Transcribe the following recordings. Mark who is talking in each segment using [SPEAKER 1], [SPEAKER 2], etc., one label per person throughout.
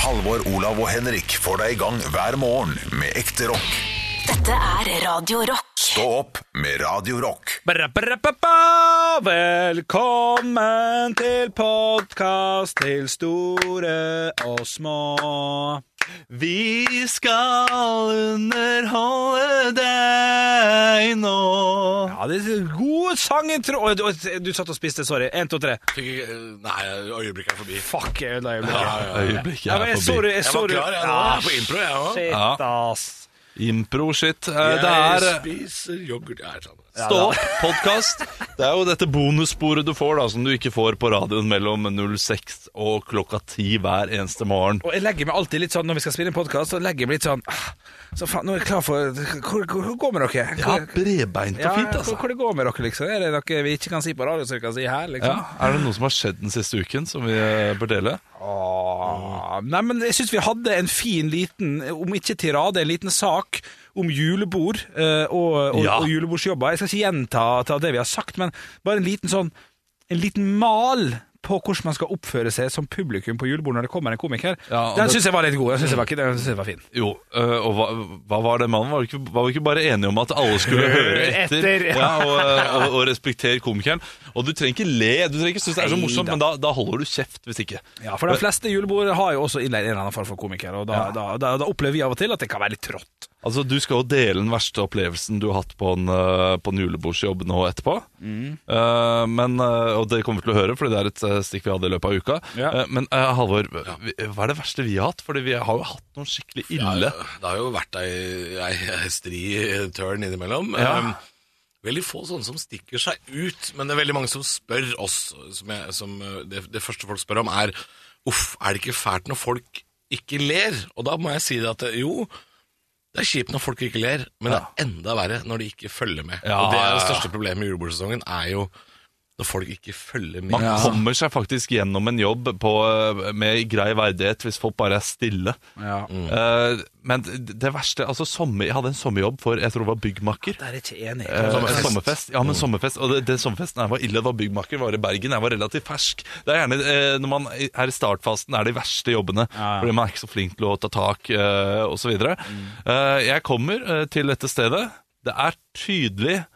[SPEAKER 1] Halvor, Olav og Henrik får deg i gang hver morgen med ekte rock.
[SPEAKER 2] Dette er Radio Rock.
[SPEAKER 1] Stå opp med Radio Rock.
[SPEAKER 3] Bra, bra, bra, bra. Velkommen til podkast til store og små.
[SPEAKER 4] Vi skal underholde deg nå.
[SPEAKER 3] Ja, det er God sangintro Oi, du, oi, du satt og spiste, sorry. Én, to, tre.
[SPEAKER 4] Fikk ikke, nei, øyeblikket er forbi.
[SPEAKER 3] Fuck, jeg ødela øyeblikket.
[SPEAKER 5] Øyeblikket
[SPEAKER 3] Ja, men
[SPEAKER 5] er
[SPEAKER 3] jeg så
[SPEAKER 5] forbi.
[SPEAKER 3] det, jeg
[SPEAKER 4] Jeg
[SPEAKER 3] så
[SPEAKER 4] var
[SPEAKER 3] det.
[SPEAKER 4] klar jeg, nå,
[SPEAKER 3] Ah,
[SPEAKER 4] jeg er på impro, jeg òg.
[SPEAKER 3] Shit,
[SPEAKER 5] Ja.
[SPEAKER 3] ass.
[SPEAKER 5] Impro-shit. Eh,
[SPEAKER 4] Jeg
[SPEAKER 5] Det er
[SPEAKER 4] spiser yoghurt Jeg er sammen.
[SPEAKER 5] Stå opp-podkast. Det er jo dette bonussporet du får, da, som du ikke får på radioen mellom 06 og klokka 10 hver eneste morgen.
[SPEAKER 3] Og jeg legger meg alltid litt sånn når vi skal spille en podkast, så legger jeg meg litt sånn ah, Så faen, nå er jeg klar for Hvor, hvor, hvor går med dere?
[SPEAKER 5] Ja,
[SPEAKER 3] Hvor,
[SPEAKER 5] bredbeint
[SPEAKER 3] ja,
[SPEAKER 5] og fint,
[SPEAKER 3] hvor,
[SPEAKER 5] altså.
[SPEAKER 3] hvor det går med dere, liksom? Er det noe vi ikke kan si på radio, som vi kan si her,
[SPEAKER 5] Ja,
[SPEAKER 3] liksom?
[SPEAKER 5] er det noe som har skjedd den siste uken som vi eh, bør dele?
[SPEAKER 3] Ah, Nei, men jeg syns vi hadde en fin liten, om ikke tirade, en liten sak om julebord eh, og, og,
[SPEAKER 5] Ja.
[SPEAKER 3] og julebordsjobber. Jeg skal ikke gjenta ta det vi har sagt, men bare en liten sånn En liten mal på hvordan man skal oppføre seg som publikum på julebord når det kommer en komiker.
[SPEAKER 5] Ja, og
[SPEAKER 3] den
[SPEAKER 5] det-
[SPEAKER 3] syns jeg var litt god. Den syns jeg, var ikke- den synes jeg var fin.
[SPEAKER 5] Jo, øh, og hva, hva var det mannen? Var vi, ikke, var vi ikke bare enige om at alle skulle høre etter?
[SPEAKER 3] Etter, ja.
[SPEAKER 5] ja. og, øh, og, og respektere komikeren. Og du trenger ikke le, du trenger ikke synes det er så morsomt, men da, da holder du kjeft hvis ikke.
[SPEAKER 3] Ja, For de fleste julebord har jo også innleid en eller annen form for komiker, og da, da, da, da opplever vi av og til at det kan være litt trått.
[SPEAKER 5] Altså, Du skal jo dele den verste opplevelsen du har hatt på en, øh, på en julebordsjobb nå etterpå.
[SPEAKER 4] Mm.
[SPEAKER 5] Eh, men, øh, Og det kommer vi til å høre, fordi det er et øh, stikk vi hadde i løpet av uka.
[SPEAKER 3] Ja.
[SPEAKER 5] Eh, men øh, Halvor, vi- hva er det verste vi har hatt? Fordi vi har jo hatt noen skikkelig ille.
[SPEAKER 4] Ja, Det har jo vært ei, ei, ei stri tørn innimellom.
[SPEAKER 5] Ja.
[SPEAKER 4] Um, veldig få sånne som stikker seg ut, men det er veldig mange som spør oss. Som jeg, som uh, det, det første folk spør om, er uff, er det ikke fælt når folk ikke ler? Og da må jeg si det at det- jo, det er kjipt når folk ikke ler, men det er enda verre når de ikke følger med.
[SPEAKER 5] Ja,
[SPEAKER 4] og det er
[SPEAKER 5] ja,
[SPEAKER 4] det
[SPEAKER 5] ja.
[SPEAKER 4] største problemet med julebordsesongen, er jo når folk ikke følger med.
[SPEAKER 5] Man kommer seg faktisk gjennom en jobb på, eh, med grei verdighet hvis folk bare er stille.
[SPEAKER 3] Ja.
[SPEAKER 4] Mm.
[SPEAKER 5] Eh, men det verste altså sommer, Jeg hadde en sommerjobb for jeg tror det var byggmaker.
[SPEAKER 3] Der er jeg ikke enig.
[SPEAKER 5] Eh,
[SPEAKER 4] Sommerfest.
[SPEAKER 5] sommerfest. Ja, men sommerfest Og det, det sommerfesten her var ille. Det var byggmaker, var i Bergen. Jeg var relativt fersk. Det er gjerne eh, Når man er i startfasen, er de verste jobbene.
[SPEAKER 3] Ja, ja.
[SPEAKER 5] Fordi man er ikke så flink til å ta tak, eh, og osv. Mm. jeg kommer eh, til dette stedet. Det er tydelig eh,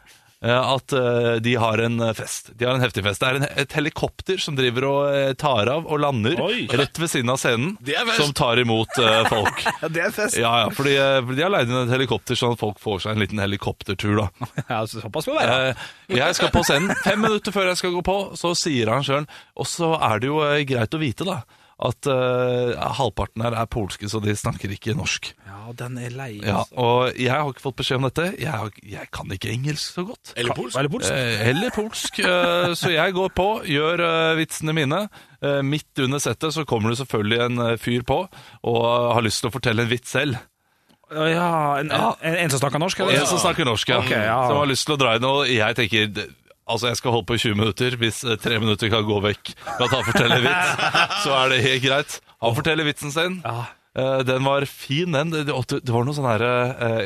[SPEAKER 5] at eh, de har en eh, fest. De har en heftig fest. Det er en, et helikopter som driver og eh, tar av og lander
[SPEAKER 3] Oi.
[SPEAKER 5] rett ved siden av scenen,
[SPEAKER 4] Det er fest.
[SPEAKER 5] som tar imot eh, folk.
[SPEAKER 3] Ja, det er fest.
[SPEAKER 5] Ja, ja, fordi eh, De har leid inn et helikopter, sånn at folk får seg en liten helikoptertur. da
[SPEAKER 3] Ja, så såpass må det være.
[SPEAKER 5] Eh, jeg skal på scenen. Fem minutter før jeg skal gå på, så sier han sjøl Og så er det jo eh, greit å vite, da, at eh, halvparten her er polske, så de snakker ikke norsk.
[SPEAKER 3] Ja, den er lei.
[SPEAKER 5] Ja, og jeg har ikke fått beskjed om dette. Jeg, har, jeg kan ikke engelsk så godt.
[SPEAKER 4] Eller polsk.
[SPEAKER 3] Veldig polsk.
[SPEAKER 5] Eh, Eller polsk. eh, Så jeg går på, gjør eh, vitsene mine. Eh, Midt under settet så kommer det selvfølgelig en eh, fyr på og har lyst til å fortelle en vits selv.
[SPEAKER 3] Å Ja, en,
[SPEAKER 5] Ja.
[SPEAKER 3] En, en som snakker norsk?
[SPEAKER 5] En som snakker norsk, ja.
[SPEAKER 3] Ok, ja.
[SPEAKER 5] Som har lyst til å dra inn, og jeg tenker d- Altså, jeg skal holde på i 20 minutter. Hvis eh, tre minutter kan gå vekk ved at han forteller vits, så er det helt greit. Han forteller vitsen sin.
[SPEAKER 3] Ja.
[SPEAKER 5] Eh, Den var fin, den. Det, det det var noe sånn herre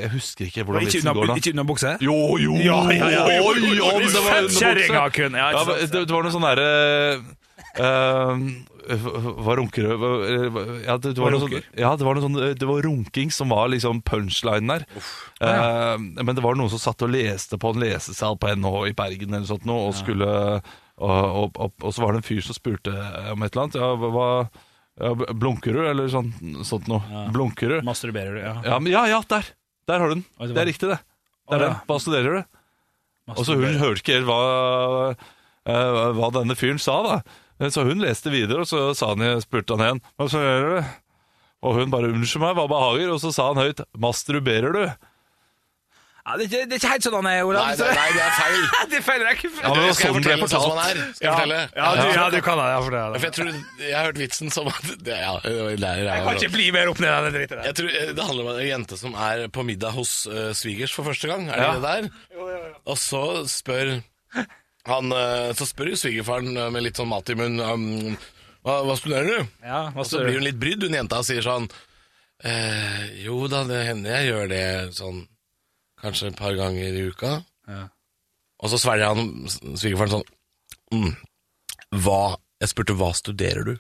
[SPEAKER 5] Jeg husker ikke hvordan
[SPEAKER 3] Ikke
[SPEAKER 5] vitsen går
[SPEAKER 3] under,
[SPEAKER 5] da.
[SPEAKER 3] ikke under bukse?
[SPEAKER 5] Jo, jo,
[SPEAKER 3] Ja, ja, ja, jo,
[SPEAKER 5] oi,
[SPEAKER 3] jo,
[SPEAKER 5] om det var
[SPEAKER 3] Kjerringa
[SPEAKER 5] underbukse.
[SPEAKER 3] kun! Ja,
[SPEAKER 5] Ja,
[SPEAKER 3] ikke
[SPEAKER 5] men
[SPEAKER 3] sant?
[SPEAKER 5] det, det var noe sånn herre eh, Hva runker du Hva- ja, det, det var
[SPEAKER 3] Hva
[SPEAKER 5] noe sånn,
[SPEAKER 3] runker?
[SPEAKER 5] ja, det var noe sånn Det var runking som var liksom punchlinen der. Eh, men det var noen som satt og leste på en lesesal på NH i Bergen eller sånt noe, og skulle og, og, og, og så var det en fyr som spurte om et eller annet. Ja, hva, ja, blunker du, eller sånt, sånt noe? Blunker du?
[SPEAKER 3] Masturberer du? Ja.
[SPEAKER 5] Ja, men, ja, ja, der! Der har du den.
[SPEAKER 3] Oi, det
[SPEAKER 5] det,
[SPEAKER 3] var-
[SPEAKER 5] er riktig, det.
[SPEAKER 3] Å,
[SPEAKER 5] Det
[SPEAKER 3] ja.
[SPEAKER 5] er den. Hva studerer du? Og så hun
[SPEAKER 3] Masturberer.
[SPEAKER 5] hørte ikke helt hva, eh, hva denne fyren sa, da. Eh, Så hun leste videre, og så sa han, spurte han igjen Hva studerer du? Og hun bare 'Unnskyld meg, hva behager?' Og så sa han høyt 'Masturberer du?'
[SPEAKER 3] Ja, det, er ikke, det er ikke helt sånn han er,
[SPEAKER 4] Nei,
[SPEAKER 3] Olav.
[SPEAKER 4] det, nei, det er feil.
[SPEAKER 3] det feiler jeg ikke.
[SPEAKER 5] Ja, men det var
[SPEAKER 4] Skal jeg
[SPEAKER 5] sånn det ble
[SPEAKER 4] fortelle sånn som han er? Skal jeg fortelle?
[SPEAKER 3] Ja, du, ja, du kan det. Ja, for det,
[SPEAKER 4] Ja,
[SPEAKER 3] er
[SPEAKER 4] For
[SPEAKER 3] det.
[SPEAKER 4] jeg tror Jeg har hørt vitsen som at det, ja, det var- det er-
[SPEAKER 3] Jeg kan ikke bli mer opp ned enn det dritet der.
[SPEAKER 4] Jeg tror eh, Det handler om en jente som er på middag hos eh, svigers for første gang. Er det
[SPEAKER 5] Ja.
[SPEAKER 4] det der? Og så spør han eh, Så spør jo svigerfaren eh, med litt sånn mat i munnen um, hva, hva studerer du?
[SPEAKER 3] Ja, hva
[SPEAKER 4] Og så blir hun litt brydd, hun jenta, og sier sånn eh, Jo da, det hender jeg gjør det sånn kanskje et par ganger i uka.
[SPEAKER 3] Ja.
[SPEAKER 4] Og så svelger han s- svigerfaren sånn mm, Hva Jeg spurte hva studerer du?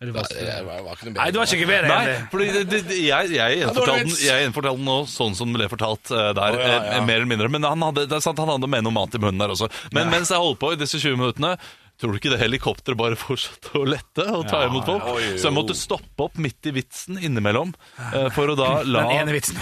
[SPEAKER 3] Eller
[SPEAKER 4] Nei,
[SPEAKER 3] var det-
[SPEAKER 4] det var, var ikke noe bedre.
[SPEAKER 3] Nei, du har ikke bedre enn
[SPEAKER 5] Nei,
[SPEAKER 3] det.
[SPEAKER 5] fordi det, det, det- jeg, jeg, gjenfortalte den, jeg gjenfortalte den nå sånn som det ble fortalt eh, der,
[SPEAKER 4] Å, ja,
[SPEAKER 5] eh,
[SPEAKER 4] ja.
[SPEAKER 5] mer eller mindre. Men han hadde, det er sant, han hadde med noe mat i munnen der også. Men mens jeg holdt på i disse 20 minuttene, tror du ikke det helikopteret bare fortsatte å lette og ta imot folk?
[SPEAKER 4] ja, oi,
[SPEAKER 5] Så jeg måtte stoppe opp midt i vitsen innimellom eh, for å da la
[SPEAKER 3] Den ene vitsen.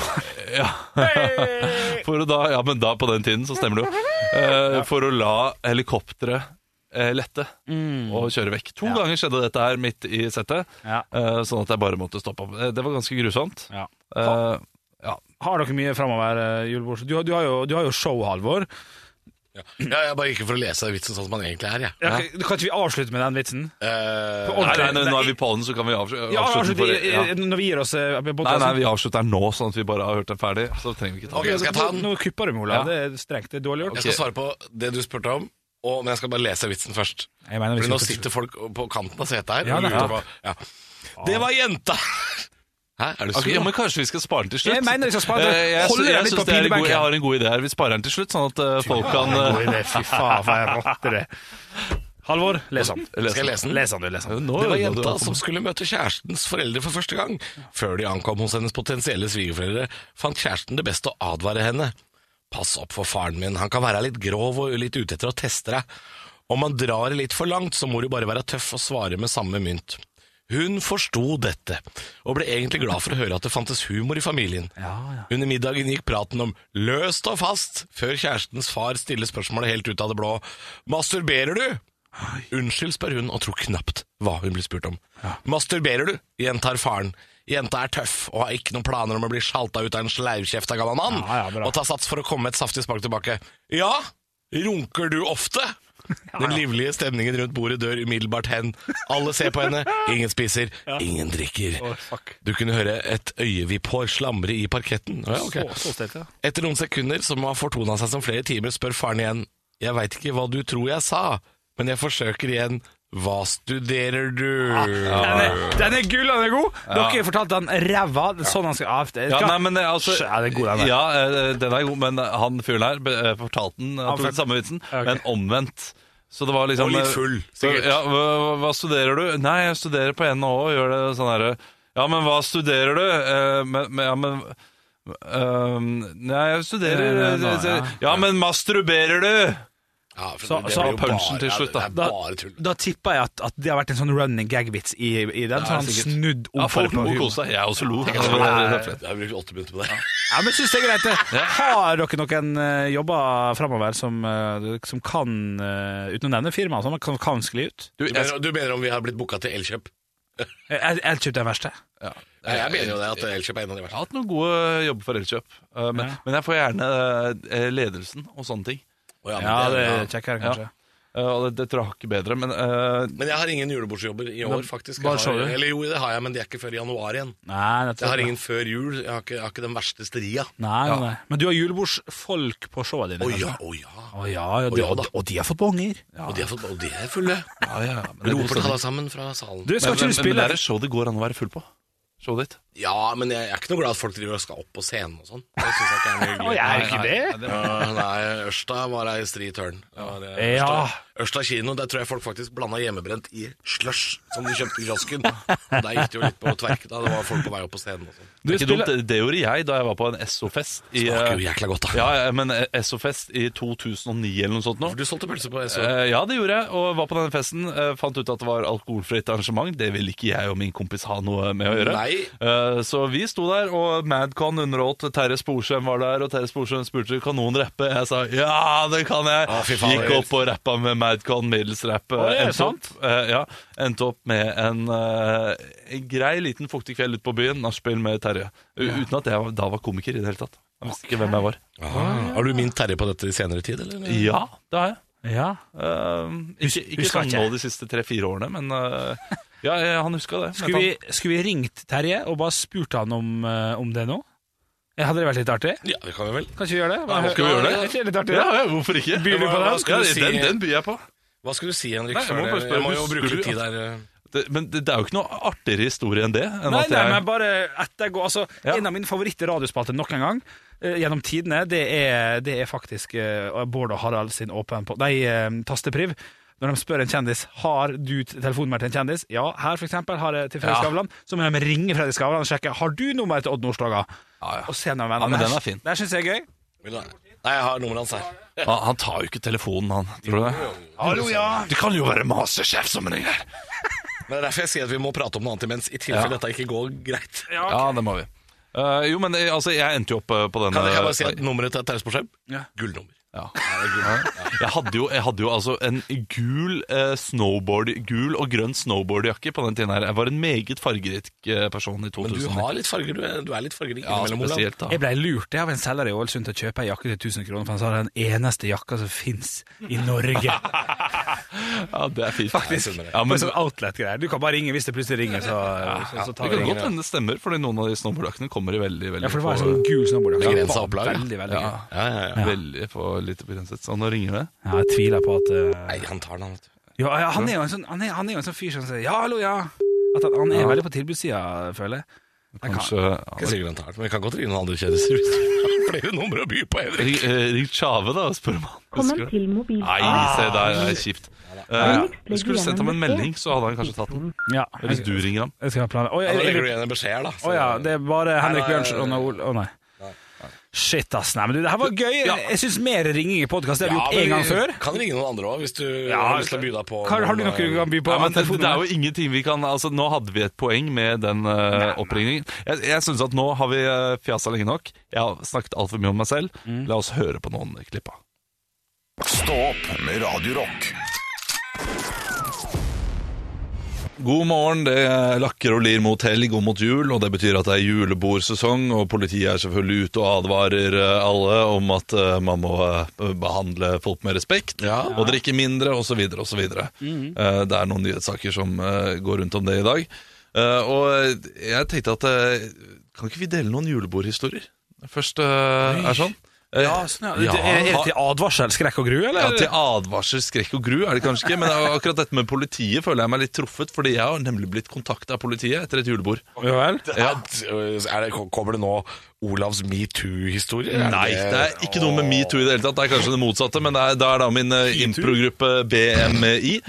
[SPEAKER 5] ja. For å da, ja, men da på den tiden, så stemmer det jo. Eh, for å la helikopteret eh, lette
[SPEAKER 4] Mm.
[SPEAKER 5] og kjøre vekk. To ganger skjedde dette her midt i settet,
[SPEAKER 3] Ja.
[SPEAKER 5] eh, sånn at jeg bare måtte stoppe opp. Eh, Det var ganske grusomt.
[SPEAKER 3] Ja.
[SPEAKER 5] Eh, ja.
[SPEAKER 3] Har dere mye framover, eh, julebord? Du, har- du, har jo- du har jo show, Halvor.
[SPEAKER 4] Ja. ja, jeg bare gikk for å lese vitsen sånn som den egentlig er, jeg.
[SPEAKER 3] Ja, Kan kan ikke vi avslutte med den vitsen?
[SPEAKER 4] Eh,
[SPEAKER 3] På
[SPEAKER 5] Nei,
[SPEAKER 3] ordentlig.
[SPEAKER 5] nei, nei, nå er vi på den, så kan vi avslutte.
[SPEAKER 3] Ja, altså, avslutt
[SPEAKER 5] avslutte for-
[SPEAKER 3] i- i-
[SPEAKER 5] ja.
[SPEAKER 3] når vi gir oss eh, på
[SPEAKER 5] Nei, nei,
[SPEAKER 3] podcasten.
[SPEAKER 5] vi avslutter den nå, sånn at vi bare har hørt den ferdig. Så trenger vi ikke ta
[SPEAKER 4] Ok,
[SPEAKER 5] den.
[SPEAKER 4] skal jeg ta den?
[SPEAKER 3] Nå kupper du meg, Olav.
[SPEAKER 5] Ja.
[SPEAKER 3] Det er strengt. Det er dårlig gjort.
[SPEAKER 4] Jeg skal svare på det du spurte om, og, men jeg skal bare lese vitsen først.
[SPEAKER 3] Jeg mener, vi
[SPEAKER 4] Fordi
[SPEAKER 3] skal
[SPEAKER 4] nå
[SPEAKER 3] først-
[SPEAKER 4] sitter folk på kanten av setet her.
[SPEAKER 3] Ja,
[SPEAKER 4] og lurer
[SPEAKER 3] nettopp.
[SPEAKER 4] på- liksom- ja. Det var jenta! Hæ, er du sur?
[SPEAKER 5] Ok, ja, men Kanskje vi skal spare den til slutt?
[SPEAKER 3] Jeg mener vi skal spare den.
[SPEAKER 5] Eh, jeg,
[SPEAKER 3] Holder
[SPEAKER 5] jeg,
[SPEAKER 3] den litt
[SPEAKER 5] synes
[SPEAKER 3] på
[SPEAKER 5] det er en god,
[SPEAKER 3] pinebenken.
[SPEAKER 5] jeg har en god idé her. Vi sparer den til slutt, sånn at eh, folk kan eh,
[SPEAKER 3] Oi, det er fy faen, for en rotte det. Halvor, les han.
[SPEAKER 4] Skal jeg lese den?
[SPEAKER 3] Les han, du. les han.
[SPEAKER 5] Nå,
[SPEAKER 4] Det var
[SPEAKER 5] nå,
[SPEAKER 4] jenta
[SPEAKER 5] nå-
[SPEAKER 4] som skulle møte kjærestens foreldre for første gang. Før de ankom hos hennes potensielle svigerforeldre, fant kjæresten det best å advare henne. Pass opp for faren min, han kan være litt grov og litt ute etter å teste deg. Om man drar det litt for langt, så må du bare være tøff og svare med samme mynt. Hun forsto dette, og ble egentlig glad for å høre at det fantes humor i familien. Under middagen gikk praten om løst og fast, før kjærestens far stiller spørsmålet helt ut av det blå. Masturberer du? Unnskyld, spør hun, og tror knapt hva hun blir spurt om. Masturberer du? gjentar faren. Jenta er tøff og har ikke noen planer om å bli sjalta ut av en sleivkjefta gammel mann,
[SPEAKER 3] Ja, ja, bra.
[SPEAKER 4] og tar sats for å komme med et saftig spark tilbake. Ja, runker du ofte? Den livlige stemningen rundt bordet dør umiddelbart hen. Alle ser på henne, ingen spiser, ingen drikker.
[SPEAKER 3] fuck.
[SPEAKER 4] Du kunne høre et øyevipphår slamre i parketten. Å, Ja, ok.
[SPEAKER 3] Så, så stelt, ja.
[SPEAKER 4] Etter noen sekunder som har fortona seg som flere timer, spør faren igjen. Jeg veit ikke hva du tror jeg sa, men jeg forsøker igjen. Hva studerer du?
[SPEAKER 3] Den er, den er gull, den er god. Dere fortalte han ræva. det er Sånn han skal ja, det-
[SPEAKER 5] Ja,
[SPEAKER 3] skal-
[SPEAKER 5] nei, men eh, altså
[SPEAKER 3] Sj, ja, det er god, den der.
[SPEAKER 5] Ja, eh, den er god, men han fyren her be- eh, fortalte den Han tok den samme vitsen,
[SPEAKER 3] Ja, ok.
[SPEAKER 5] men omvendt. Så det var liksom
[SPEAKER 4] Og litt
[SPEAKER 5] eh,
[SPEAKER 4] full, sikkert.
[SPEAKER 5] Ja, hva, hva- hva studerer du? Nei, jeg studerer på NHO og gjør det sånn herre Ja, men hva studerer du? Eh, men, men, ja, men eh, Nei, jeg studerer eh,
[SPEAKER 3] Nei, nei, nei,
[SPEAKER 5] ja.
[SPEAKER 3] ja.
[SPEAKER 5] men masturberer du?
[SPEAKER 4] Ja, for
[SPEAKER 3] Så-
[SPEAKER 4] det
[SPEAKER 3] så
[SPEAKER 4] blir jo
[SPEAKER 5] punchen
[SPEAKER 4] bare-
[SPEAKER 5] til slutt, da.
[SPEAKER 4] Ja, det er bare tull.
[SPEAKER 3] Da tipper jeg at, at det har vært en sånn running gag-vits i, i den. så han
[SPEAKER 5] sikkert.
[SPEAKER 3] snudd om
[SPEAKER 5] Ja, folk
[SPEAKER 3] på
[SPEAKER 5] lo og
[SPEAKER 3] humor.
[SPEAKER 5] koste seg. Jeg også lo.
[SPEAKER 4] Jeg har brukt åtte minutter på det.
[SPEAKER 3] Ja, men synes det er greit det. Har dere noen eh, jobber fremover som, eh, som kan, eh, uten å nevne firma, som kan, kan skli ut?
[SPEAKER 4] Du mener, du mener om vi har blitt booka til Elkjøp?
[SPEAKER 3] Jeg, jeg, jeg kjøpte den verste.
[SPEAKER 4] Ja, jeg mener jo det, at Elkjøp er en av de
[SPEAKER 5] Jeg
[SPEAKER 4] verste.
[SPEAKER 5] har hatt noen gode jobber for Elkjøp, eh, men,
[SPEAKER 3] Ja.
[SPEAKER 5] men jeg får gjerne eh, ledelsen og sånne ting.
[SPEAKER 4] Å, ja, men
[SPEAKER 3] Ja, det
[SPEAKER 4] ja.
[SPEAKER 3] er kjekkere, kanskje.
[SPEAKER 5] Eh, og det, det tror jeg ikke bedre, men eh,
[SPEAKER 4] Men jeg har ingen julebordsjobber i år, faktisk.
[SPEAKER 3] bare
[SPEAKER 4] Jeg
[SPEAKER 3] show
[SPEAKER 4] har,
[SPEAKER 3] det.
[SPEAKER 4] eller jo, det har jeg, men det er ikke før i januar igjen.
[SPEAKER 3] Nei, nettopp.
[SPEAKER 4] Jeg har ingen før jul. Jeg har ikke, jeg har ikke den verste stria.
[SPEAKER 3] Nei, nei, nei. Men du har julebordsfolk på showene dine.
[SPEAKER 4] Å
[SPEAKER 3] kanskje?
[SPEAKER 4] ja, å ja.
[SPEAKER 3] Å ja, ja, de,
[SPEAKER 4] Å ja da.
[SPEAKER 3] og, de, og de har fått bonger.
[SPEAKER 4] Og de er, fått- og de er fulle.
[SPEAKER 5] ja, ja, men det er god
[SPEAKER 4] Roper ta
[SPEAKER 5] stemning.
[SPEAKER 4] deg sammen fra salen.
[SPEAKER 3] Du, skal ikke
[SPEAKER 5] Men, men,
[SPEAKER 3] du
[SPEAKER 5] men det
[SPEAKER 3] spille
[SPEAKER 5] er et show det går an å være full på. Showet ditt.
[SPEAKER 4] Ja, men jeg, jeg er ikke noe glad at folk driver og skal opp på scenen og sånn. Det synes jeg ikke er noe hyggelig.
[SPEAKER 3] Å, jeg er ikke
[SPEAKER 5] Nei,
[SPEAKER 3] det.
[SPEAKER 5] nei, det-
[SPEAKER 4] Ja, nei, Ørsta var ei stri tørn. Det var, eh,
[SPEAKER 3] Ja.
[SPEAKER 4] Ørsta, Ørsta kino, der tror jeg folk faktisk blanda hjemmebrent i slush, som de kjøpte i kiosken. Og Der gikk det jo litt på tverke, da. Det var folk på vei opp på scenen og sånn.
[SPEAKER 3] Du
[SPEAKER 5] Det er ikke
[SPEAKER 3] spiller-
[SPEAKER 5] dumt, det- det gjorde jeg da jeg var på en SO-fest i
[SPEAKER 4] Det var jo
[SPEAKER 5] eh,
[SPEAKER 4] jækla godt, da.
[SPEAKER 5] ja, ja, men eh, SO-fest i 2009 eller noe sånt nå.
[SPEAKER 4] For du solgte pølse på SO.
[SPEAKER 5] Eh, ja, det gjorde jeg, og var på denne festen. eh, fant ut at det var alkoholfritt arrangement. Det ville ikke jeg og min kompis ha noe med å gjøre.
[SPEAKER 4] Nei.
[SPEAKER 5] Eh, så vi sto der, og Madcon underholdt. Terje Sporsem var der, og Terje Sporsem spurte kan noen rappe. Jeg sa ja, det kan jeg!
[SPEAKER 4] Å, fy faen,
[SPEAKER 5] Gikk
[SPEAKER 4] det er
[SPEAKER 5] opp og rappa med Madcon, middels rap.
[SPEAKER 3] Å, det er
[SPEAKER 5] endte
[SPEAKER 3] sant.
[SPEAKER 5] opp- eh, ja, endte opp med en eh, en grei, liten fuktig kveld ute på byen. Nachspiel med Terje. U- Uten at jeg var- da var komiker i det hele tatt. Jeg visste ikke hvem jeg var.
[SPEAKER 4] Ah, Har du mint Terje på dette i senere tid, eller?
[SPEAKER 5] Ja, det har jeg.
[SPEAKER 3] Ja.
[SPEAKER 5] Ehm, ikke ikke
[SPEAKER 3] husker
[SPEAKER 5] sånn
[SPEAKER 3] ikke.
[SPEAKER 5] nå de siste tre-fire årene, men eh, ja, eh, han huska det.
[SPEAKER 3] Skulle vi, skulle vi ringt Terje og bare spurt han om, eh, om det nå? Eh, Hadde det vært litt artig?
[SPEAKER 4] Ja, det kan vi vel.
[SPEAKER 3] Kan ikke vi gjøre det?
[SPEAKER 4] Ja,
[SPEAKER 3] Hva-
[SPEAKER 4] skal vi gjøre det?
[SPEAKER 3] Er ikke litt artig,
[SPEAKER 5] ja,
[SPEAKER 3] da?
[SPEAKER 5] ja, hvorfor ikke?
[SPEAKER 3] Byr du på
[SPEAKER 5] Ja,
[SPEAKER 3] den?
[SPEAKER 4] Skal du si-
[SPEAKER 5] den, den byr jeg på.
[SPEAKER 4] Hva skulle du si, Henrik?
[SPEAKER 5] Nei, jeg må
[SPEAKER 4] før
[SPEAKER 5] bare
[SPEAKER 4] det?
[SPEAKER 5] spørre,
[SPEAKER 4] jeg må jo
[SPEAKER 5] husker
[SPEAKER 4] bruke
[SPEAKER 5] du
[SPEAKER 4] litt tid
[SPEAKER 5] at-
[SPEAKER 4] der. eh.
[SPEAKER 5] Det, men det, det er jo ikke noe artigere historie enn det. Enn
[SPEAKER 3] Nei,
[SPEAKER 5] at
[SPEAKER 3] nei,
[SPEAKER 5] jeg,
[SPEAKER 3] men bare ettergå altså,
[SPEAKER 5] Ja.
[SPEAKER 3] En av mine favoritt-radiospalter nok en gang eh, gjennom tidene, det er, det er faktisk eh, Bård og Harald sin åpen på Nei, eh, tastepriv. når de spør en kjendis har du t- telefonnummer til en kjendis. Ja, her for eksempel har jeg til Fredrik Skavlan. Så må de ringe Fredrik Skavlan og sjekke har du nummer til Odd Nordstoga.
[SPEAKER 5] Ja, ja.
[SPEAKER 3] Og se om de er venner.
[SPEAKER 5] Ja, men
[SPEAKER 3] Det
[SPEAKER 5] den
[SPEAKER 3] her-
[SPEAKER 5] er fin.
[SPEAKER 3] Det her syns jeg er gøy.
[SPEAKER 4] Vil du ha- Nei, jeg har nummeret hans her.
[SPEAKER 5] Han, han tar jo ikke telefonen, han. Tror du det?
[SPEAKER 3] Hallo, ja.
[SPEAKER 5] Det kan jo være masterchef som ringer!
[SPEAKER 4] Men Det er derfor jeg sier at vi må prate om noe annet imens, i tilfelle dette ikke går greit.
[SPEAKER 5] Ja, det må vi. Eh, jo, men eh, altså, jeg endte jo opp eh, på denne
[SPEAKER 4] Kan jeg bare si at nummeret til Terje Sportsheim?
[SPEAKER 3] Ja.
[SPEAKER 4] Gullnummer.
[SPEAKER 5] Ja. Jeg hadde jo, jeg hadde jo altså en gul, eh, snowboard, gul og grønn snowboardjakke på den tiden her. Jeg var en meget fargerik eh, person i
[SPEAKER 4] Men
[SPEAKER 5] 2000.
[SPEAKER 4] du har litt farger, du. er- Du er litt fargerik
[SPEAKER 5] ja,
[SPEAKER 4] innimellom, Olav.
[SPEAKER 5] spesielt da.
[SPEAKER 3] Jeg ble lurt jeg av en selger i Ålesund til å kjøpe ei jakke til 1000 kroner, for han sa det er den eneste jakka som fins i Norge.
[SPEAKER 5] Ja, det er fint.
[SPEAKER 3] Faktisk.
[SPEAKER 5] Ja, men,
[SPEAKER 3] Med sånn outlet-greier. Du kan bare ringe hvis det plutselig ringer, så, så, så
[SPEAKER 5] det
[SPEAKER 3] tar vi
[SPEAKER 5] kan
[SPEAKER 3] ringen.
[SPEAKER 5] godt hende det stemmer, fordi noen av de snowboardjakkene kommer i veldig, veldig
[SPEAKER 3] Ja, for det var
[SPEAKER 5] få-
[SPEAKER 3] en sånn gul snowboardjakke.
[SPEAKER 4] Begrenset
[SPEAKER 3] Det var
[SPEAKER 4] opplag, ja.
[SPEAKER 3] Veldig, veldig
[SPEAKER 5] ja,
[SPEAKER 3] gul.
[SPEAKER 4] Ja, ja, ja.
[SPEAKER 5] veldig få litt begrenset. Så Sånn, nå ringer det.
[SPEAKER 3] Ja, jeg tviler på at eh,
[SPEAKER 4] Nei, han tar den, han, vet du.
[SPEAKER 3] ja, ja, han, er jo en sånn, han, er, han er jo en sånn fyr som sier 'ja, hallo, ja'. At han, han er veldig på tilbudssida, føler jeg. jeg. kan-
[SPEAKER 5] Kanskje
[SPEAKER 4] Ikke
[SPEAKER 5] ja,
[SPEAKER 4] sikkert han tar den, men vi kan godt ringe noen andre kjendiser hvis du har flere numre å by på, Henrik.
[SPEAKER 5] Ring eh, ring Tjave, da, og spør om han
[SPEAKER 6] Velkommen
[SPEAKER 5] husker det.
[SPEAKER 6] til mobil.
[SPEAKER 5] Nei, se der, det er kjipt. Eh, jeg skulle sendt ham en melding, så hadde han kanskje tatt den.
[SPEAKER 3] Ja,
[SPEAKER 5] Hvis du
[SPEAKER 3] jeg,
[SPEAKER 5] ringer ham.
[SPEAKER 3] jeg skal ha planer. Å ja,
[SPEAKER 4] Ja, Da
[SPEAKER 3] jeg-
[SPEAKER 4] legger du
[SPEAKER 3] jeg-
[SPEAKER 4] igjen en beskjed her, da.
[SPEAKER 3] å ja, det er bare Henrik
[SPEAKER 4] Nei, nei,
[SPEAKER 3] Bjørnsen og Ol... Å nei. Shit, ass. Nei, men du, det her var gøy.
[SPEAKER 5] Ja.
[SPEAKER 3] Jeg syns mer ringing i podkast det har vi gjort
[SPEAKER 4] men
[SPEAKER 3] én gang
[SPEAKER 4] vi
[SPEAKER 3] før.
[SPEAKER 4] Kan ringe noen andre òg, hvis du har lyst til å by deg på.
[SPEAKER 3] Har, har du noe
[SPEAKER 4] noen, eh,
[SPEAKER 3] du kan by på?
[SPEAKER 5] Ja, men det, det er jo ingenting vi kan altså, Nå hadde vi et poeng med den eh, oppringningen. Jeg, jeg syns at nå har vi uh, fjasa lenge nok. Jeg har snakket altfor mye om meg selv. La oss høre på noen klipp. av.
[SPEAKER 1] Stå opp med Radio Rock.
[SPEAKER 5] God morgen, det lakker og lir mot helg og mot jul, og det betyr at det er julebordsesong, og politiet er selvfølgelig ute og advarer eh, alle om at eh, man må eh, behandle folk med respekt,
[SPEAKER 4] Ja.
[SPEAKER 5] og drikke mindre, osv., osv.
[SPEAKER 3] Mhm.
[SPEAKER 5] Eh, det er noen nyhetssaker som eh, går rundt om det i dag. Eh, og jeg tenkte at eh, kan ikke vi dele noen julebordhistorier? Først eh, er sånn. Eh,
[SPEAKER 3] Ja, sånn, ja.
[SPEAKER 5] Ja,
[SPEAKER 3] Det- Er, er det
[SPEAKER 5] ha-
[SPEAKER 3] til advarsel, skrekk og gru, eller?
[SPEAKER 5] ja, til advarsel, skrekk og gru er det kanskje ikke, men akkurat dette med politiet føler jeg meg litt truffet, fordi jeg har nemlig blitt kontaktet av politiet etter et julebord.
[SPEAKER 3] Ja vel?
[SPEAKER 4] Ja, er det, kommer det nå Olavs metoo-historie? Er
[SPEAKER 5] Nei, det er ikke noe med metoo i det hele tatt, det er kanskje det motsatte, men det er, da er da min eh, improgruppe BMI.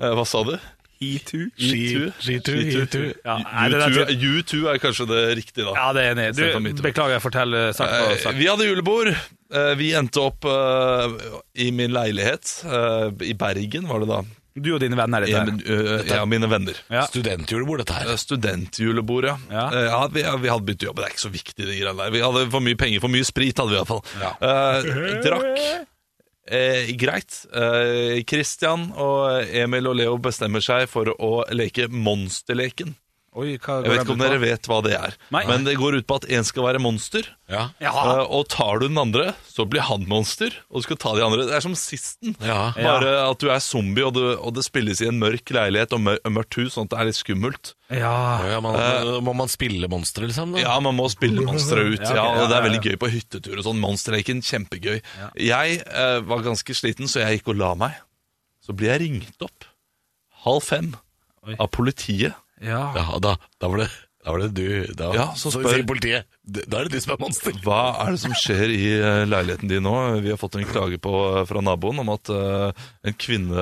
[SPEAKER 5] Eh, Hva sa du? E
[SPEAKER 3] Metoo.
[SPEAKER 5] Skitu?
[SPEAKER 4] Skitu, hitu.
[SPEAKER 3] E Ja, nei, det der tror jeg-
[SPEAKER 5] U2 er kanskje det riktige da.
[SPEAKER 3] Ja, det er enig.
[SPEAKER 5] Sett av metoo.
[SPEAKER 3] Du, beklager, fortell eh, sak på
[SPEAKER 5] Eh,
[SPEAKER 3] sak.
[SPEAKER 5] Vi hadde julebord. Eh, Vi endte opp eh, i min leilighet, eh, i Bergen var det da.
[SPEAKER 3] Eh, Du og dine venner.
[SPEAKER 5] Jeg,
[SPEAKER 3] Dette. her.
[SPEAKER 5] jeg og mine venner.
[SPEAKER 3] Ja.
[SPEAKER 4] Studentjulebord, dette her.
[SPEAKER 5] Eh, Studentjulebord, ja.
[SPEAKER 3] Ja.
[SPEAKER 5] Eh, ja vi, vi hadde begynt å jobbe, det er ikke så viktig. De greiene der. Vi hadde for mye penger, for mye sprit hadde vi iallfall.
[SPEAKER 4] Ja.
[SPEAKER 5] Eh, drakk. Eh, greit. Eh, Christian og Emil og Leo bestemmer seg for å leke monsterleken.
[SPEAKER 3] Oi, hva
[SPEAKER 5] Jeg vet ikke om dere vet hva det er,
[SPEAKER 3] Nei. Ah.
[SPEAKER 5] men det går ut på at én skal være monster.
[SPEAKER 4] Ja.
[SPEAKER 5] eh, og tar du den andre, så blir han monster, og du skal ta de andre. Det er som sisten.
[SPEAKER 4] Ja.
[SPEAKER 5] Bare at du er zombie, og, du, og det spilles i en mørk leilighet og mør- mørkt hus, sånn at det er litt skummelt.
[SPEAKER 3] Ja.
[SPEAKER 4] Ja, man, må man spille monstre, liksom? Da?
[SPEAKER 5] Ja, man må spille monstre ut.
[SPEAKER 3] ok,
[SPEAKER 5] Ja, og
[SPEAKER 3] ja,
[SPEAKER 5] det er
[SPEAKER 3] ja,
[SPEAKER 5] veldig gøy på hyttetur og sånn. Monsterleken, kjempegøy. Jeg eh, var ganske sliten, så jeg gikk og la meg. Så blir jeg ringt opp halv fem av politiet.
[SPEAKER 3] ja.
[SPEAKER 4] Ja, da, da, var det, da var det du da,
[SPEAKER 5] Ja, så
[SPEAKER 4] så
[SPEAKER 5] spør-
[SPEAKER 4] sier politiet Da er det du som er monster.
[SPEAKER 5] Hva er det som skjer i eh, leiligheten din nå? Vi har fått en klage på, fra naboen om at eh, en kvinne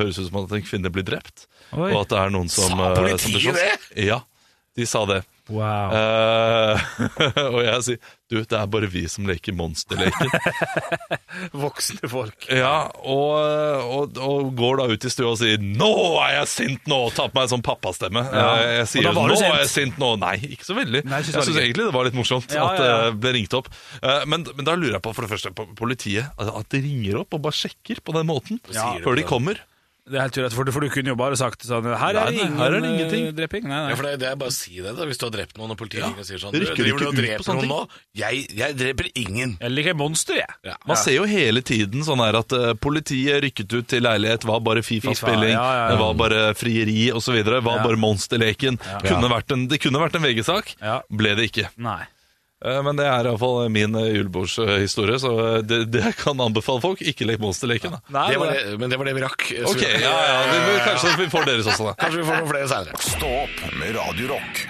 [SPEAKER 5] høres ut som at en kvinne blir drept.
[SPEAKER 3] Oi.
[SPEAKER 5] Og at det er noen som
[SPEAKER 4] Sa
[SPEAKER 5] eh, som blir
[SPEAKER 4] politiet
[SPEAKER 5] slåss. Ja, de sa det.
[SPEAKER 3] Wow.
[SPEAKER 5] Eh, og jeg sier Du, det er bare vi som leker monsterleken.
[SPEAKER 3] Voksne folk.
[SPEAKER 5] Ja, og, og, og går da ut i stua og sier 'Nå er jeg sint nå!' og tar på meg en sånn pappastemme. Eh, Jeg sier
[SPEAKER 3] Og da var du
[SPEAKER 5] 'Nå
[SPEAKER 3] sint.
[SPEAKER 5] er jeg sint nå'. Nei, ikke så veldig.
[SPEAKER 3] Nei, jeg
[SPEAKER 5] jeg
[SPEAKER 3] synes det var
[SPEAKER 5] syns
[SPEAKER 3] gøy.
[SPEAKER 5] egentlig det var litt morsomt
[SPEAKER 3] Ja, ja,
[SPEAKER 5] at det
[SPEAKER 3] ja.
[SPEAKER 5] ble ringt opp. Eh, Men, men da lurer jeg på for det første på politiet. altså At de ringer opp og bare sjekker på den måten
[SPEAKER 4] Ja.
[SPEAKER 5] før de kommer.
[SPEAKER 3] Det er helt tydelig, for, for du kunne jo bare sagt sånn Her er
[SPEAKER 5] Nei,
[SPEAKER 3] det
[SPEAKER 5] nei,
[SPEAKER 3] ingen
[SPEAKER 5] her er det
[SPEAKER 3] eh,
[SPEAKER 5] ingenting.
[SPEAKER 3] dreping. Nei,
[SPEAKER 4] Ja,
[SPEAKER 3] nei.
[SPEAKER 4] for det, det er bare å si det da Hvis du har drept noen og politiet ringer og sier sånn
[SPEAKER 5] Det
[SPEAKER 4] Du
[SPEAKER 5] rykker
[SPEAKER 4] driver
[SPEAKER 5] ikke
[SPEAKER 4] du og
[SPEAKER 5] ut på
[SPEAKER 4] dreper
[SPEAKER 5] sånne
[SPEAKER 4] noen
[SPEAKER 5] ting.
[SPEAKER 4] nå jeg, jeg dreper ingen
[SPEAKER 3] Jeg liker monster, jeg.
[SPEAKER 4] ja.
[SPEAKER 5] Man ser jo hele tiden sånn her at eh, politiet rykket ut til leilighet, var bare
[SPEAKER 3] FIFA,
[SPEAKER 5] Fifa-spilling,
[SPEAKER 3] ja, ja, ja.
[SPEAKER 5] det var bare frieri osv., var bare monsterleken. Kunne vært en, det kunne vært en VG-sak,
[SPEAKER 3] Ja.
[SPEAKER 5] ble det ikke.
[SPEAKER 3] Nei.
[SPEAKER 5] Eh, Men det er iallfall min eh, julebordshistorie, så eh, det, det jeg kan anbefale folk. Ikke lek monsterleken, da.
[SPEAKER 3] nei
[SPEAKER 4] det var det, Men det var det vi rakk så
[SPEAKER 5] Ok,
[SPEAKER 4] vi-
[SPEAKER 5] ja, ja, vi, vi, Kanskje vi får deres også, da.
[SPEAKER 4] Kanskje vi får noen flere senere
[SPEAKER 1] Stå opp med Radio Rock.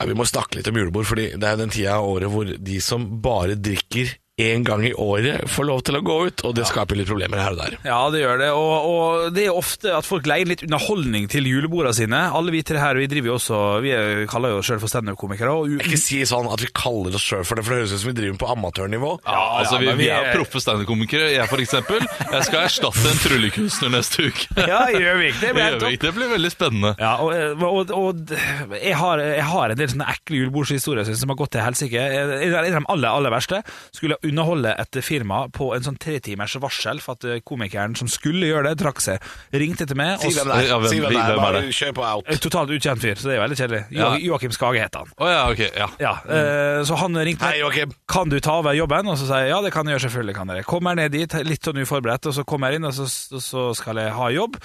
[SPEAKER 4] Nei, Vi må snakke litt om julebord Fordi det er den tida av året hvor de som bare drikker én gang i året får lov til å gå ut, og det skaper litt problemer her og der.
[SPEAKER 3] Ja, det gjør det. Og, og det er ofte at folk leier litt underholdning til julebordene sine. Alle vi tre her vi driver jo også Vi er, kaller jo oss sjøl for standup-komikere. og u-
[SPEAKER 4] Ikke si sånn at vi kaller oss sjøl for det, for det høres ut som vi driver på amatørnivå.
[SPEAKER 5] Ja, altså, vi,
[SPEAKER 3] men
[SPEAKER 5] vi
[SPEAKER 3] vi
[SPEAKER 5] er
[SPEAKER 3] er-
[SPEAKER 5] proffe standup-komikere. Jeg, for eksempel. Jeg skal erstatte en tryllekunstner neste uke.
[SPEAKER 3] Ja, i Gjøvik. Det
[SPEAKER 5] I
[SPEAKER 3] blir helt topp.
[SPEAKER 5] Gjøvik. Det blir veldig spennende.
[SPEAKER 3] Ja, og, eh, og, og jeg, har, jeg har en del sånne ekle julebordshistorier synes jeg, som har gått til helsike. En en av de aller, aller verste skulle jeg underholde et firma på en sånn tretimers varsel for at eh, komikeren som skulle gjøre det, trakk seg. Ringte til meg.
[SPEAKER 4] Si
[SPEAKER 3] og-
[SPEAKER 4] hvem det
[SPEAKER 5] Ja,
[SPEAKER 4] er.
[SPEAKER 5] hvem-
[SPEAKER 4] Si hvem det er.
[SPEAKER 5] hvem er
[SPEAKER 4] Bare
[SPEAKER 5] det?
[SPEAKER 4] kjør på out.
[SPEAKER 3] En Totalt ukjent fyr, så det er jo veldig kjedelig. Jo,
[SPEAKER 5] Ja.
[SPEAKER 3] Joakim Skage het han.
[SPEAKER 5] Å ja, ok. Ja.
[SPEAKER 3] Ja, eh, så han ringte
[SPEAKER 4] Mm. Hei, Joakim.
[SPEAKER 3] Kan du ta over jobben? Og så sier jeg ja, det kan jeg gjøre, selvfølgelig kan dere. Kommer ned dit, litt sånn uforberedt, og så kommer jeg inn, og så, og så skal jeg ha jobb.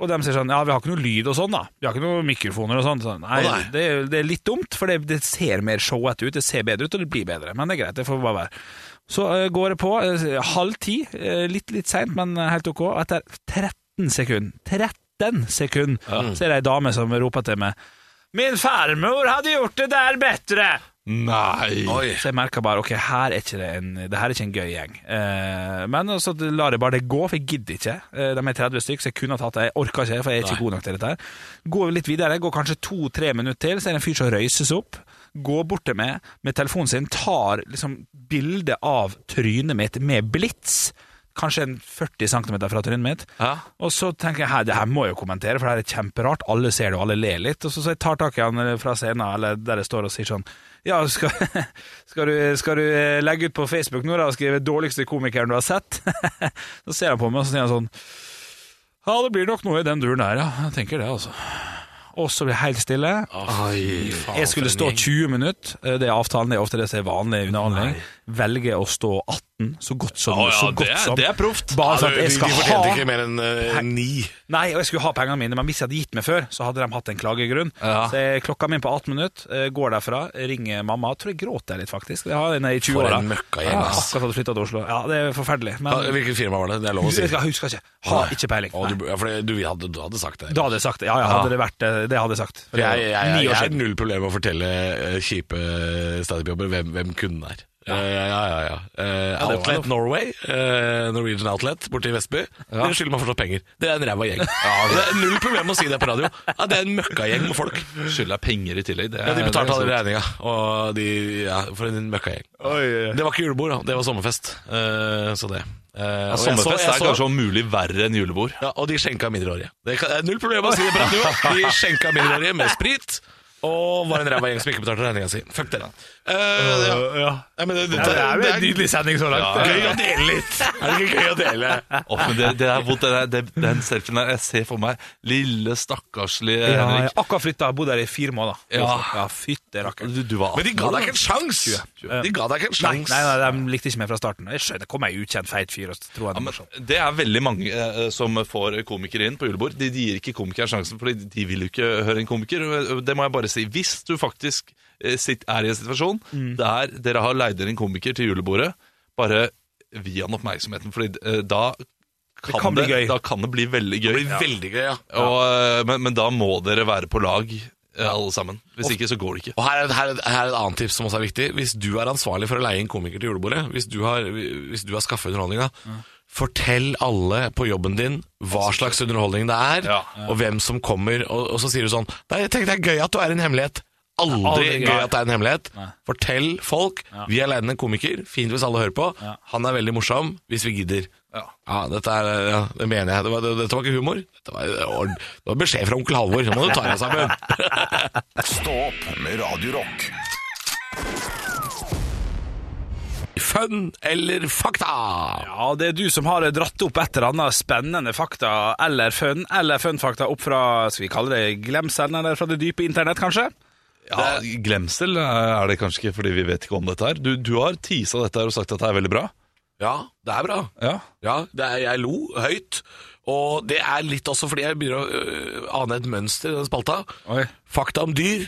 [SPEAKER 3] Og de sier sånn ja, vi har ikke noe lyd og sånn, da. Vi har ikke noen mikrofoner og sånn. Så, nei,
[SPEAKER 4] Å, nei.
[SPEAKER 3] Det, det er litt dumt, for det, det ser mer showete ut, det ser bedre ut, og det blir bedre. Men det er greit, det får bare være. Så eh, går det på eh, halv ti, eh, litt, litt seint, men eh, helt ok. Etter 13 sekunder, 13 sekunder, så er det ei dame som roper til meg. Min farmor hadde gjort det der bedre!
[SPEAKER 5] Nei
[SPEAKER 4] Oi.
[SPEAKER 3] Så jeg merka bare ok, her er ikke det, en, det her er ikke en gøy gjeng. Eh, men så lar jeg bare det gå, for jeg gidder ikke. Eh, de er 30 stykker, så jeg kunne ha tatt det. Jeg orka ikke, for jeg er ikke god nok til dette. her. Går litt videre, går kanskje to-tre minutter til, så er det en fyr som røyses opp. Går bort til meg med telefonen sin, tar liksom bilde av trynet mitt med blits. Kanskje en 40 cm fra trynet mitt.
[SPEAKER 5] Ja.
[SPEAKER 3] Og så tenker jeg her, det her må jeg jo kommentere, for det her er kjemperart. Alle ser det, og alle ler litt. Og så, så jeg tar tak i han eh, fra scenen, eller der jeg står og sier sånn Ja, skal, skal, du, skal du eh, legge ut på Facebook nå da, og skrive 'dårligste komikeren du har sett'? så ser han på meg, og så sier han sånn Ja, det blir nok noe i den duren her, ja. Jeg tenker det, altså. Og så blir det helt stille. jeg skulle stå 20 minutter. Eh, Det er avtalen, det er ofte det som er vanlig underholdning. Velger å stå 18, så godt som.
[SPEAKER 5] Å ja,
[SPEAKER 3] så
[SPEAKER 5] det
[SPEAKER 3] godt
[SPEAKER 5] er-
[SPEAKER 3] som.
[SPEAKER 5] det er proft.
[SPEAKER 3] Bare for
[SPEAKER 4] Altså,
[SPEAKER 3] at
[SPEAKER 4] de,
[SPEAKER 3] jeg
[SPEAKER 4] de
[SPEAKER 3] skal
[SPEAKER 4] fortjente
[SPEAKER 3] ha
[SPEAKER 4] ikke mer enn eh, ni.
[SPEAKER 3] Nei, og jeg skulle ha pengene mine, men hvis jeg hadde gitt meg før, så hadde de hatt en klagegrunn.
[SPEAKER 5] Ja.
[SPEAKER 3] Så jeg klokka mi på 18 minutter, eh, går derfra, ringer mamma. Jeg tror jeg gråter litt, faktisk. Jeg har en eh, i 20
[SPEAKER 4] For
[SPEAKER 3] åra.
[SPEAKER 4] en møkkagjeng,
[SPEAKER 3] Ja,
[SPEAKER 4] ass.
[SPEAKER 3] akkurat flytta til Oslo. Ja, det er forferdelig. Men
[SPEAKER 4] Ja, Hvilket firma var det? Det er lov å si.
[SPEAKER 3] jeg husker ikke. Har ikke peiling.
[SPEAKER 4] Å,
[SPEAKER 3] Nei.
[SPEAKER 4] du, ja, for det- du, vi hadde, du hadde sagt det.
[SPEAKER 3] Da hadde jeg sagt det. Ja, ja, hadde det vært eh, Det hadde jeg sagt. For
[SPEAKER 4] For
[SPEAKER 3] det
[SPEAKER 4] jeg,
[SPEAKER 3] var
[SPEAKER 4] jeg, jeg,
[SPEAKER 3] ni
[SPEAKER 4] jeg
[SPEAKER 3] år
[SPEAKER 4] har
[SPEAKER 3] siden.
[SPEAKER 4] null problem med å fortelle eh, kjipe standup-jobber hvem, hvem kunden er. Ja, ja, ja. ja, ja. Eh,
[SPEAKER 5] det var
[SPEAKER 4] Outlet
[SPEAKER 5] lov.
[SPEAKER 4] Norway, eh, Norwegian Outlet borte i Vestby. Dere skylder meg fortsatt penger. Det er en ræva gjeng. Det er null problem med å si det på radio. Ja, det er en møkkagjeng med folk.
[SPEAKER 5] Skylder jeg penger i tillegg? Det er,
[SPEAKER 4] Ja, de
[SPEAKER 5] Eh, det
[SPEAKER 4] betalte
[SPEAKER 5] er
[SPEAKER 4] alle
[SPEAKER 5] ganske-
[SPEAKER 4] regninga, og de Ja, for en møkkagjeng. Det var ikke julebord, da. Det var sommerfest. Eh, så det. Eh,
[SPEAKER 5] Ja,
[SPEAKER 4] og jeg så-
[SPEAKER 5] sommerfest
[SPEAKER 4] jeg
[SPEAKER 5] er
[SPEAKER 4] så-
[SPEAKER 5] kanskje om mulig verre enn julebord.
[SPEAKER 4] Ja, og de skjenka mindreårige. Det kan, det er null problem å si det på radio. De skjenka mindreårige med sprit. Og var en ræva gjeng som ikke betalte regninga si. Fuck dere. Eh, ja. Nei, men det, det, det,
[SPEAKER 3] Ja,
[SPEAKER 4] det er
[SPEAKER 3] nydelig sending så langt.
[SPEAKER 4] gøy å dele litt. Er det ikke gøy å dele?
[SPEAKER 5] Åh, men det, det er vondt, det der- det, den selfien der. Jeg ser for meg lille, stakkarslige
[SPEAKER 3] Ja, jeg
[SPEAKER 5] Henrik.
[SPEAKER 3] har akkurat flytta, bodd der i fire måneder.
[SPEAKER 5] Ja.
[SPEAKER 3] ja fytte rakker.
[SPEAKER 5] Du, du var
[SPEAKER 4] Men de ga deg ikke en sjans! De ga deg ikke en
[SPEAKER 3] Nei,
[SPEAKER 4] sjans.
[SPEAKER 3] nei, nei, de likte ikke meg fra starten. Jeg skjønner, kom ei ukjent feit fyr og så tror han er morsom.
[SPEAKER 5] Det er veldig mange eh, som får komikere inn på julebord. De, de gir ikke komikeren sjansen, for de vil jo ikke høre en komiker. Det må jeg bare si. Hvis du faktisk eh, sitt, er i en situasjon der dere har leid inn en komiker til julebordet, bare gi han oppmerksomheten, for da kan det,
[SPEAKER 3] kan bli gøy.
[SPEAKER 5] da kan det bli veldig gøy.
[SPEAKER 4] Det blir veldig gøy, ja.
[SPEAKER 5] Og, eh, men, men da må dere være på lag, eh, alle sammen. Hvis ikke, så går det ikke.
[SPEAKER 4] Og her er, her, er, her er et annet tips som også er viktig. Hvis du er ansvarlig for å leie inn komiker til julebordet, hvis du har, hvis du har skaffet underholdninga, fortell alle på jobben din hva slags underholdning det er,
[SPEAKER 5] Ja.
[SPEAKER 4] og hvem som kommer, og, og så sier du sånn Nei, jeg tenker det er gøy at du er en hemmelighet. Aldri,
[SPEAKER 3] Aldri gøy.
[SPEAKER 4] gøy at det er en hemmelighet. Fortell folk. Vi er leid inn en komiker. Fint hvis alle hører på. Han er veldig morsom, hvis vi gidder.
[SPEAKER 5] Ja.
[SPEAKER 4] dette er, ja, det mener jeg. Det var, det, dette var ikke humor. Dette var, det var- det var beskjed fra onkel Halvor. Nå må du ta deg sammen.
[SPEAKER 1] Stå opp med Radio Rock.
[SPEAKER 4] Fun eller fakta?
[SPEAKER 3] Ja, det er du som har dratt opp et eller annet spennende fakta eller fun, eller fun-fakta opp fra, skal vi kalle det glemselen, eller fra det dype internett, kanskje?
[SPEAKER 5] Ja, glemsel eh, er det kanskje ikke, fordi vi vet ikke om dette her. Du, du har tisa dette her og sagt at det er veldig bra.
[SPEAKER 4] Ja, det er bra.
[SPEAKER 5] Ja.
[SPEAKER 4] Ja, det er, jeg lo høyt. Og det er litt også fordi jeg begynner å øh, ane et mønster i den spalta.
[SPEAKER 3] Oi.
[SPEAKER 4] Fakta om dyr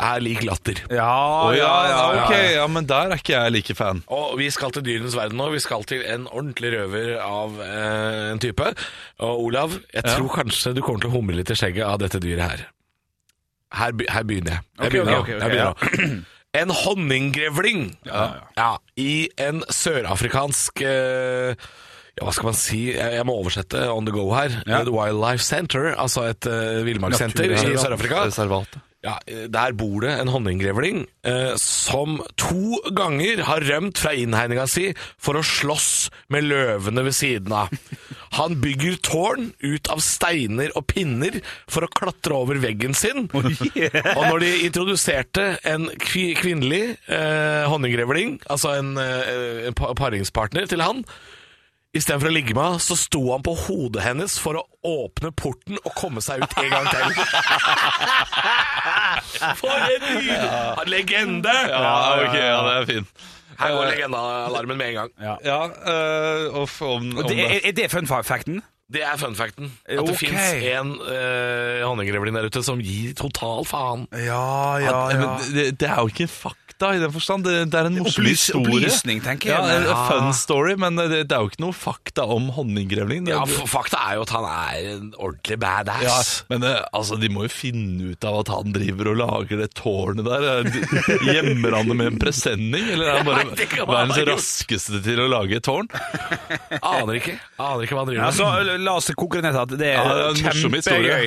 [SPEAKER 4] er lik latter.
[SPEAKER 3] Ja,
[SPEAKER 5] Å,
[SPEAKER 3] ja, ja, ja.
[SPEAKER 5] ok, ja, men der er ikke jeg like fan.
[SPEAKER 4] Og vi skal til dyrenes verden nå. Vi skal til en ordentlig røver av eh, en type. Og Olav, jeg tror kanskje du kommer til å humre litt i skjegget av dette dyret her. Her, be- her begynner jeg. Jeg
[SPEAKER 3] Ok, ok,
[SPEAKER 4] begynner nå.
[SPEAKER 3] ok,
[SPEAKER 4] Jeg begynner nå. En honninggrevling
[SPEAKER 3] Ja, ja,
[SPEAKER 4] Ja, i en sørafrikansk eh, ja, hva skal man si? Jeg jeg må oversette on the go her.
[SPEAKER 3] Ja.
[SPEAKER 4] Et Wildlife Center, altså et uh, villmarkssenter i
[SPEAKER 5] Naturreservat.
[SPEAKER 4] Sør-Afrika.
[SPEAKER 5] Reservatet.
[SPEAKER 4] Ja, eh, der bor det en honninggrevling eh, som to ganger har rømt fra innhegninga si for å slåss med løvene ved siden av. Han bygger tårn ut av steiner og pinner for å klatre over veggen sin. Og når de introduserte en kvi kvinnelig eh, honninggrevling, altså en, eh, en pa- paringspartner til han, Istedenfor å ligge med henne, så sto han på hodet hennes for å åpne porten og komme seg ut en gang til. For en nydelig legende!
[SPEAKER 5] Ja, ok, ja, det er fint.
[SPEAKER 4] Her går legendealarmen med en gang.
[SPEAKER 5] Ja, eh, og f- om, om
[SPEAKER 3] Og det, er, er det fun facten?
[SPEAKER 4] Det er fun facten. At det
[SPEAKER 3] Ok.
[SPEAKER 4] fins en uh, honninggrevling der ute som gir total faen.
[SPEAKER 3] Ja, ja,
[SPEAKER 5] Ja, Men det, det er jo ikke fakta i den forstand. Det, det er en morsom
[SPEAKER 3] eh, opplys-
[SPEAKER 5] historie.
[SPEAKER 3] opplysning, tenker jeg.
[SPEAKER 5] Ja, en
[SPEAKER 3] Ja.
[SPEAKER 5] Fun story, men det, det er jo ikke noe fakta om honninggrevling. Det,
[SPEAKER 4] Ja, f- Fakta er jo at han er en ordentlig badass.
[SPEAKER 5] Ja, men eh, altså, de må jo finne ut av at han driver og lager det tårnet der. Eh, de- Gjemmer han det med en presenning, eller er han bare
[SPEAKER 4] Nei, det kan man
[SPEAKER 5] verdens
[SPEAKER 4] ha gjort.
[SPEAKER 5] raskeste til å lage et tårn?
[SPEAKER 4] Aner ikke Aner ikke hva han driver
[SPEAKER 3] Ja,
[SPEAKER 4] med.
[SPEAKER 3] så La oss koke det ned til at det er,
[SPEAKER 5] Ja, det er en morsom historie.
[SPEAKER 3] kjempegøy.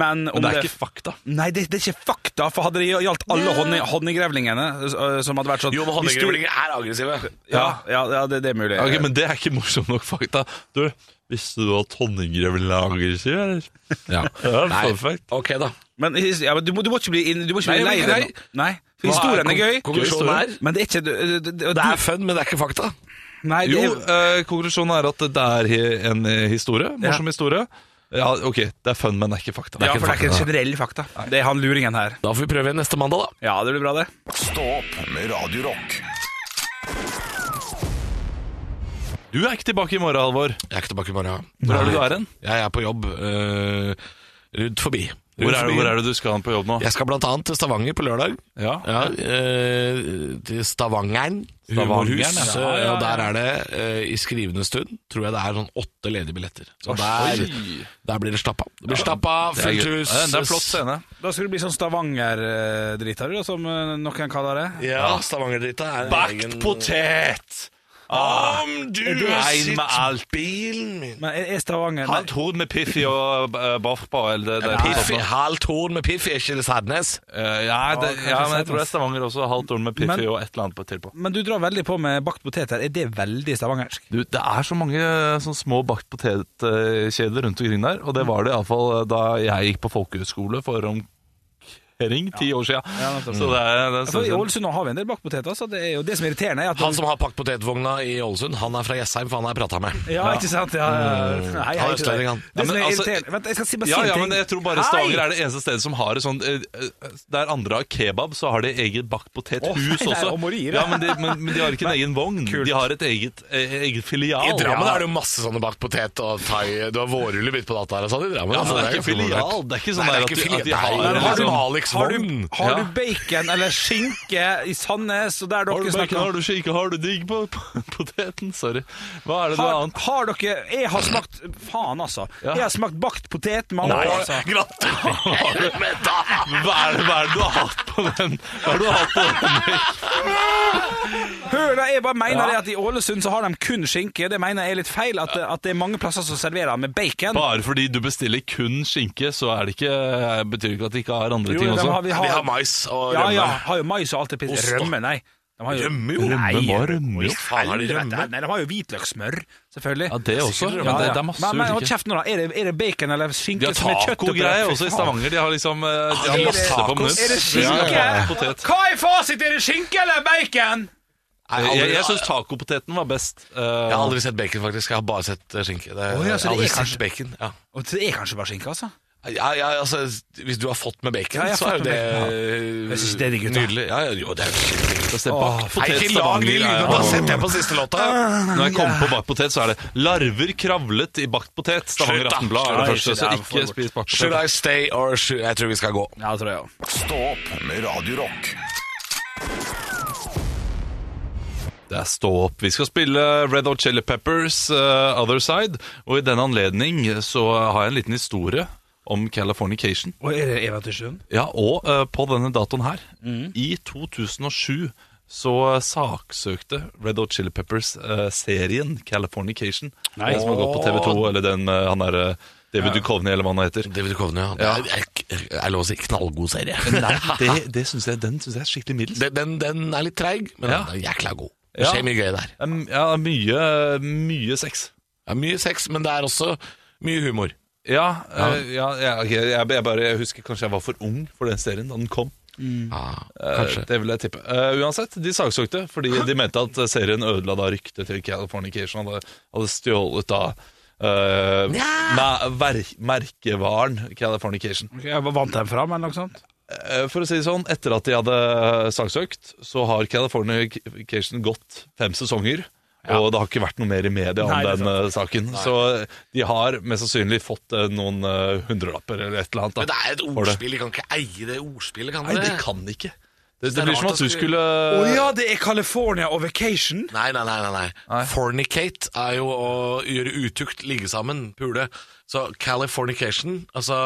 [SPEAKER 3] Men om
[SPEAKER 5] Men det er ikke fakta.
[SPEAKER 3] Nei, det, det er ikke fakta, for hadde det gjaldt alle honning, honninggrevlingene øh, som hadde vært sånn
[SPEAKER 4] jo, men
[SPEAKER 3] hvis du-
[SPEAKER 4] honninggrevlinger er aggressive.
[SPEAKER 3] Ja, ja, ja det, det er mulig.
[SPEAKER 5] Ok, men det er ikke morsomt nok fakta. Du, visste du at honninggrevling er aggressiv, eller?
[SPEAKER 4] Ja.
[SPEAKER 5] Ja,
[SPEAKER 4] Nei.
[SPEAKER 5] perfekt.
[SPEAKER 4] Ok, da.
[SPEAKER 3] Men, his- ja, men du, må, du må ikke bli, inn- du må ikke
[SPEAKER 4] Nei,
[SPEAKER 3] bli lei
[SPEAKER 4] jeg blir
[SPEAKER 3] deg.
[SPEAKER 4] ikke
[SPEAKER 3] Nei. For Historien
[SPEAKER 4] Hva
[SPEAKER 3] er gøy.
[SPEAKER 4] Konklusjonen
[SPEAKER 5] Gøy
[SPEAKER 4] er
[SPEAKER 3] Men det er ikke du- du- du-
[SPEAKER 4] Det er fun, men det er ikke fakta.
[SPEAKER 3] Nei, det
[SPEAKER 5] Jo,
[SPEAKER 3] er,
[SPEAKER 5] eh, konklusjonen er at det er he- en eh, historie. Morsom historie. Ja, ok, det er fun, men det er ikke fakta.
[SPEAKER 3] ja, for det er ikke en generell fakta. Det er han luringen her.
[SPEAKER 4] Da får vi prøve igjen neste mandag, da.
[SPEAKER 3] Ja, det blir bra, det.
[SPEAKER 1] Stå opp med Radio Rock.
[SPEAKER 5] Du er ikke tilbake i morgen, Halvor.
[SPEAKER 4] Jeg er ikke tilbake i morgen.
[SPEAKER 5] Hvor er det du er hen?
[SPEAKER 4] Jeg er på jobb eh, rundt forbi.
[SPEAKER 5] Hvor er, hvor er det du skal hen på jobb nå?
[SPEAKER 4] Jeg skal blant annet til Stavanger på lørdag.
[SPEAKER 5] Ja.
[SPEAKER 4] Ja, eh, til Stavangeren.
[SPEAKER 5] Stavangeren,
[SPEAKER 4] Humorhus.
[SPEAKER 5] ja. Ja, ja, ja.
[SPEAKER 4] Og der er det, eh, i skrivende stund, tror jeg det er sånn åtte ledige billetter. Så der,
[SPEAKER 5] Oi.
[SPEAKER 4] der blir det stappa. Det blir stappa,
[SPEAKER 5] Det er,
[SPEAKER 4] fullt
[SPEAKER 5] gøy.
[SPEAKER 4] hus.
[SPEAKER 5] Ja, det er en flott scene.
[SPEAKER 3] Da skal du bli sånn Stavanger-driter, du, som eh, noen kaller det.
[SPEAKER 4] Ja, Stavanger-drita er en egen-
[SPEAKER 5] potet! Ah,
[SPEAKER 4] Om Ah, du
[SPEAKER 5] du
[SPEAKER 4] har
[SPEAKER 5] rein med alt?
[SPEAKER 4] sett bilen min
[SPEAKER 3] Men er er Stavanger
[SPEAKER 5] Han tror med Piffi og uh, Barfbar eller det, det,
[SPEAKER 4] Piffi, Halvt horn med Piffi, er ikke det Sadnes?
[SPEAKER 5] Eh, ja, det,
[SPEAKER 3] kanskje
[SPEAKER 5] ja, men jeg
[SPEAKER 3] Sandnes.
[SPEAKER 5] tror det er Stavanger også. Halvt ord med Piffi
[SPEAKER 3] Men-
[SPEAKER 5] og et eller annet på til på.
[SPEAKER 3] Men du drar veldig på med bakt potet her. Er det veldig stavangersk?
[SPEAKER 5] Du, det er så mange eh, sånn små bakt potet-kjeder rundt omkring der, og det var det iallfall eh, da jeg gikk på folkehøyskole for omkring ti år sia.
[SPEAKER 3] Ja, nettopp.
[SPEAKER 5] så det er, det er
[SPEAKER 3] For Altså, I Ålesund nå har vi en del bakt poteter, så det er jo det som er irriterende. Er at
[SPEAKER 5] Mm.
[SPEAKER 4] Han som har pakket potetvogna i Ålesund, han er fra Jessheim, for han har jeg prata med.
[SPEAKER 3] Ja, ikke sant? Ja, ja.
[SPEAKER 5] Mm.
[SPEAKER 3] Hei, hei,
[SPEAKER 4] Han er
[SPEAKER 3] til deg.
[SPEAKER 4] østlending, han.
[SPEAKER 3] Det
[SPEAKER 5] Ja,
[SPEAKER 3] som
[SPEAKER 5] men
[SPEAKER 3] er
[SPEAKER 5] altså-
[SPEAKER 3] irriterende Vent, jeg skal si bare
[SPEAKER 5] ja,
[SPEAKER 3] si en
[SPEAKER 5] ja,
[SPEAKER 3] ting.
[SPEAKER 5] men jeg tror bare
[SPEAKER 3] Hei!
[SPEAKER 5] Stavanger er det eneste stedet som har et sånn eh, eh, Der andre har kebab, så har de eget bakt
[SPEAKER 3] Å, nei,
[SPEAKER 5] potethus
[SPEAKER 3] det er
[SPEAKER 5] også.
[SPEAKER 3] om å rire.
[SPEAKER 5] Ja, men, de, men, men de har ikke en egen vogn. De har et eget, eh, eget
[SPEAKER 4] I
[SPEAKER 5] filial.
[SPEAKER 4] Drammen
[SPEAKER 5] ja.
[SPEAKER 4] er det jo masse sånne bakt potet og thai Du har vårruller midt på natta her og sånn i Drammen.
[SPEAKER 5] Ja, men
[SPEAKER 4] altså,
[SPEAKER 5] det er
[SPEAKER 4] jo
[SPEAKER 5] ikke filial. Det er ikke sånn
[SPEAKER 4] Nei, det
[SPEAKER 5] der
[SPEAKER 4] er
[SPEAKER 5] at,
[SPEAKER 4] ikke
[SPEAKER 5] de-
[SPEAKER 4] filial.
[SPEAKER 5] at de
[SPEAKER 4] Nei,
[SPEAKER 5] har
[SPEAKER 4] men har du
[SPEAKER 5] liksom-
[SPEAKER 4] Alex
[SPEAKER 3] Har du,
[SPEAKER 4] Vogn?
[SPEAKER 3] har
[SPEAKER 5] Ja.
[SPEAKER 3] du bacon eller skinke i Sandnes, og der
[SPEAKER 5] Har du
[SPEAKER 3] dere
[SPEAKER 5] bacon,
[SPEAKER 3] snakker
[SPEAKER 5] har du skinke, har du digg på på poteten? Sorry. Hva er det noe
[SPEAKER 3] har,
[SPEAKER 5] annet?
[SPEAKER 3] har dere Jeg har smakt Faen, altså.
[SPEAKER 5] Ja.
[SPEAKER 3] Jeg har smakt bakt potet mange år, altså.
[SPEAKER 4] Gratulerer med dagen!
[SPEAKER 5] Hva er, det, hva er det du har hatt på den? Hva er det du har hatt på den?
[SPEAKER 3] Hør, da, jeg bare mener det at i Ålesund så har de kun skinke. Det mener jeg er litt feil, at, at det er mange plasser som serverer med bacon.
[SPEAKER 5] Bare fordi du bestiller kun skinke, så er det ikke, eh, betyr det ikke at de ikke har andre
[SPEAKER 3] Jo,
[SPEAKER 5] ting
[SPEAKER 3] de
[SPEAKER 5] også?
[SPEAKER 3] har- vi
[SPEAKER 4] Vi har mais og
[SPEAKER 3] Ja,
[SPEAKER 4] rømme.
[SPEAKER 3] ja, har jo mais og alt det pisset.
[SPEAKER 4] Ost, da.
[SPEAKER 3] Rømme, nei. De har jo,
[SPEAKER 4] Rømme, jo.
[SPEAKER 5] Rømme,
[SPEAKER 3] Nei,
[SPEAKER 5] hva er rømme?
[SPEAKER 3] i
[SPEAKER 4] Faen, har de
[SPEAKER 3] helvete.
[SPEAKER 4] rømme?
[SPEAKER 3] Nei, de har jo hvitløkssmør, selvfølgelig.
[SPEAKER 5] Ja, det også.
[SPEAKER 4] Sikkert,
[SPEAKER 5] Men
[SPEAKER 3] Ja,
[SPEAKER 5] det,
[SPEAKER 3] ja.
[SPEAKER 5] det er masse
[SPEAKER 3] men, men, hold
[SPEAKER 5] ulike.
[SPEAKER 3] kjeft nå, da. Er det, er det bacon eller skinke
[SPEAKER 5] De har
[SPEAKER 3] som er kjøtt? oppi der?
[SPEAKER 5] tacogreier også i
[SPEAKER 3] Fy faen.
[SPEAKER 5] Stavanger. De har liksom eh, de har
[SPEAKER 4] Er det-
[SPEAKER 5] masse på
[SPEAKER 4] tacos?
[SPEAKER 5] menys.
[SPEAKER 3] Er det
[SPEAKER 5] Ja,
[SPEAKER 3] skinke?
[SPEAKER 5] ja, ja, potet.
[SPEAKER 3] Hva er fasit? Er det skinke eller bacon?
[SPEAKER 4] Nei,
[SPEAKER 5] Jeg, jeg,
[SPEAKER 4] aldri-
[SPEAKER 5] jeg syns tacopoteten var best. eh,
[SPEAKER 4] Jeg har aldri sett bacon, faktisk. Jeg har bare sett eh, skinke. Det,
[SPEAKER 3] Å, ja, så
[SPEAKER 4] jeg har
[SPEAKER 3] det
[SPEAKER 4] aldri
[SPEAKER 3] er
[SPEAKER 4] sett
[SPEAKER 3] kanskje-
[SPEAKER 4] bacon. Ja.
[SPEAKER 3] Og Det er kanskje bare skinke, altså.
[SPEAKER 4] Ja, ja, altså, hvis du har fått med bacon,
[SPEAKER 3] Ja, jeg har
[SPEAKER 4] så er
[SPEAKER 3] fått
[SPEAKER 4] jo
[SPEAKER 3] med
[SPEAKER 4] det,
[SPEAKER 3] Jeg synes det er digg, gutta.
[SPEAKER 4] nydelig. Ja, ja, jo, det er jo
[SPEAKER 5] det er bakt
[SPEAKER 3] Åh,
[SPEAKER 5] potet
[SPEAKER 4] Nei, ikke lag
[SPEAKER 5] Stavanger,
[SPEAKER 4] de
[SPEAKER 5] ja, ja.
[SPEAKER 4] lydene. Bare sett det på siste låta.
[SPEAKER 5] Når jeg kommer på bakt potet, så er det 'larver kravlet i bakt potet'. Stavanger
[SPEAKER 4] Slutt, da.
[SPEAKER 5] Aftenblad er det
[SPEAKER 3] Nei,
[SPEAKER 5] første, så
[SPEAKER 3] det er for
[SPEAKER 5] ikke
[SPEAKER 3] bort.
[SPEAKER 5] spis bakt
[SPEAKER 4] Should
[SPEAKER 5] potet.
[SPEAKER 4] I stay or should Jeg tror vi skal gå.
[SPEAKER 3] Ja, det tror jeg òg.
[SPEAKER 1] Stå opp med Radio Rock.
[SPEAKER 5] Det er stå opp. Vi skal spille Red Hot Chili Peppers, eh, Other Side. Og i den anledning så har jeg en liten historie om Californication.
[SPEAKER 3] Og er det Eva til sjøen?
[SPEAKER 5] Ja, og eh, på denne datoen her, i 2007, så eh, saksøkte Red Hot Chili Peppers eh, serien Californication.
[SPEAKER 3] Nei.
[SPEAKER 5] Den som har gått på TV 2, eller den eh, han er eh, David Duchovny, eller hva han heter.
[SPEAKER 4] David Duchovny, ja. Det er, er, er lov å si knallgod serie.
[SPEAKER 5] Nei, det, det synes jeg, den syns jeg er skikkelig middels.
[SPEAKER 4] Den, den, den er litt treig, men
[SPEAKER 5] Ja.
[SPEAKER 4] den er jækla god. Det
[SPEAKER 5] Ja.
[SPEAKER 4] skjer mye gøy der.
[SPEAKER 5] Det er m- Ja, mye, mye sex.
[SPEAKER 4] Det er mye sex, men det er også mye humor.
[SPEAKER 5] Ja, eh, ja, ja ok, jeg, jeg, bare, jeg husker kanskje jeg var for ung for den serien da den kom.
[SPEAKER 4] Ja,
[SPEAKER 5] Eh,
[SPEAKER 4] kanskje.
[SPEAKER 5] Det vil jeg tippe. Eh, uansett, de saksøkte fordi de mente at serien ødela da ryktet til Californication. Hadde, hadde stjålet da eh, me- ver- merkevaren Californication.
[SPEAKER 3] Jeg vant dem fram, eller noe sånt?
[SPEAKER 5] Eh, for å si det sånn, etter at de hadde saksøkt, så har Californication gått fem sesonger. Og det har ikke vært noe mer i media om
[SPEAKER 3] Nei, det er
[SPEAKER 5] den eh, saken. Så de har mest sannsynlig fått eh, noen eh, hundrelapper eller et eller annet. da,
[SPEAKER 4] Men det er et
[SPEAKER 5] for det.
[SPEAKER 4] ordspill, de kan ikke eie det ordspillet, kan
[SPEAKER 5] Nei,
[SPEAKER 4] dere?
[SPEAKER 5] de kan ikke. Det, det,
[SPEAKER 4] det er
[SPEAKER 5] blir som
[SPEAKER 4] rart at
[SPEAKER 5] at du
[SPEAKER 4] du-
[SPEAKER 5] skulle
[SPEAKER 3] Å ja, det er California og vacation!
[SPEAKER 4] Nei, nei, nei, nei, nei. Fornicate er jo å gjøre utukt, ligge sammen, pule. Så Californication, altså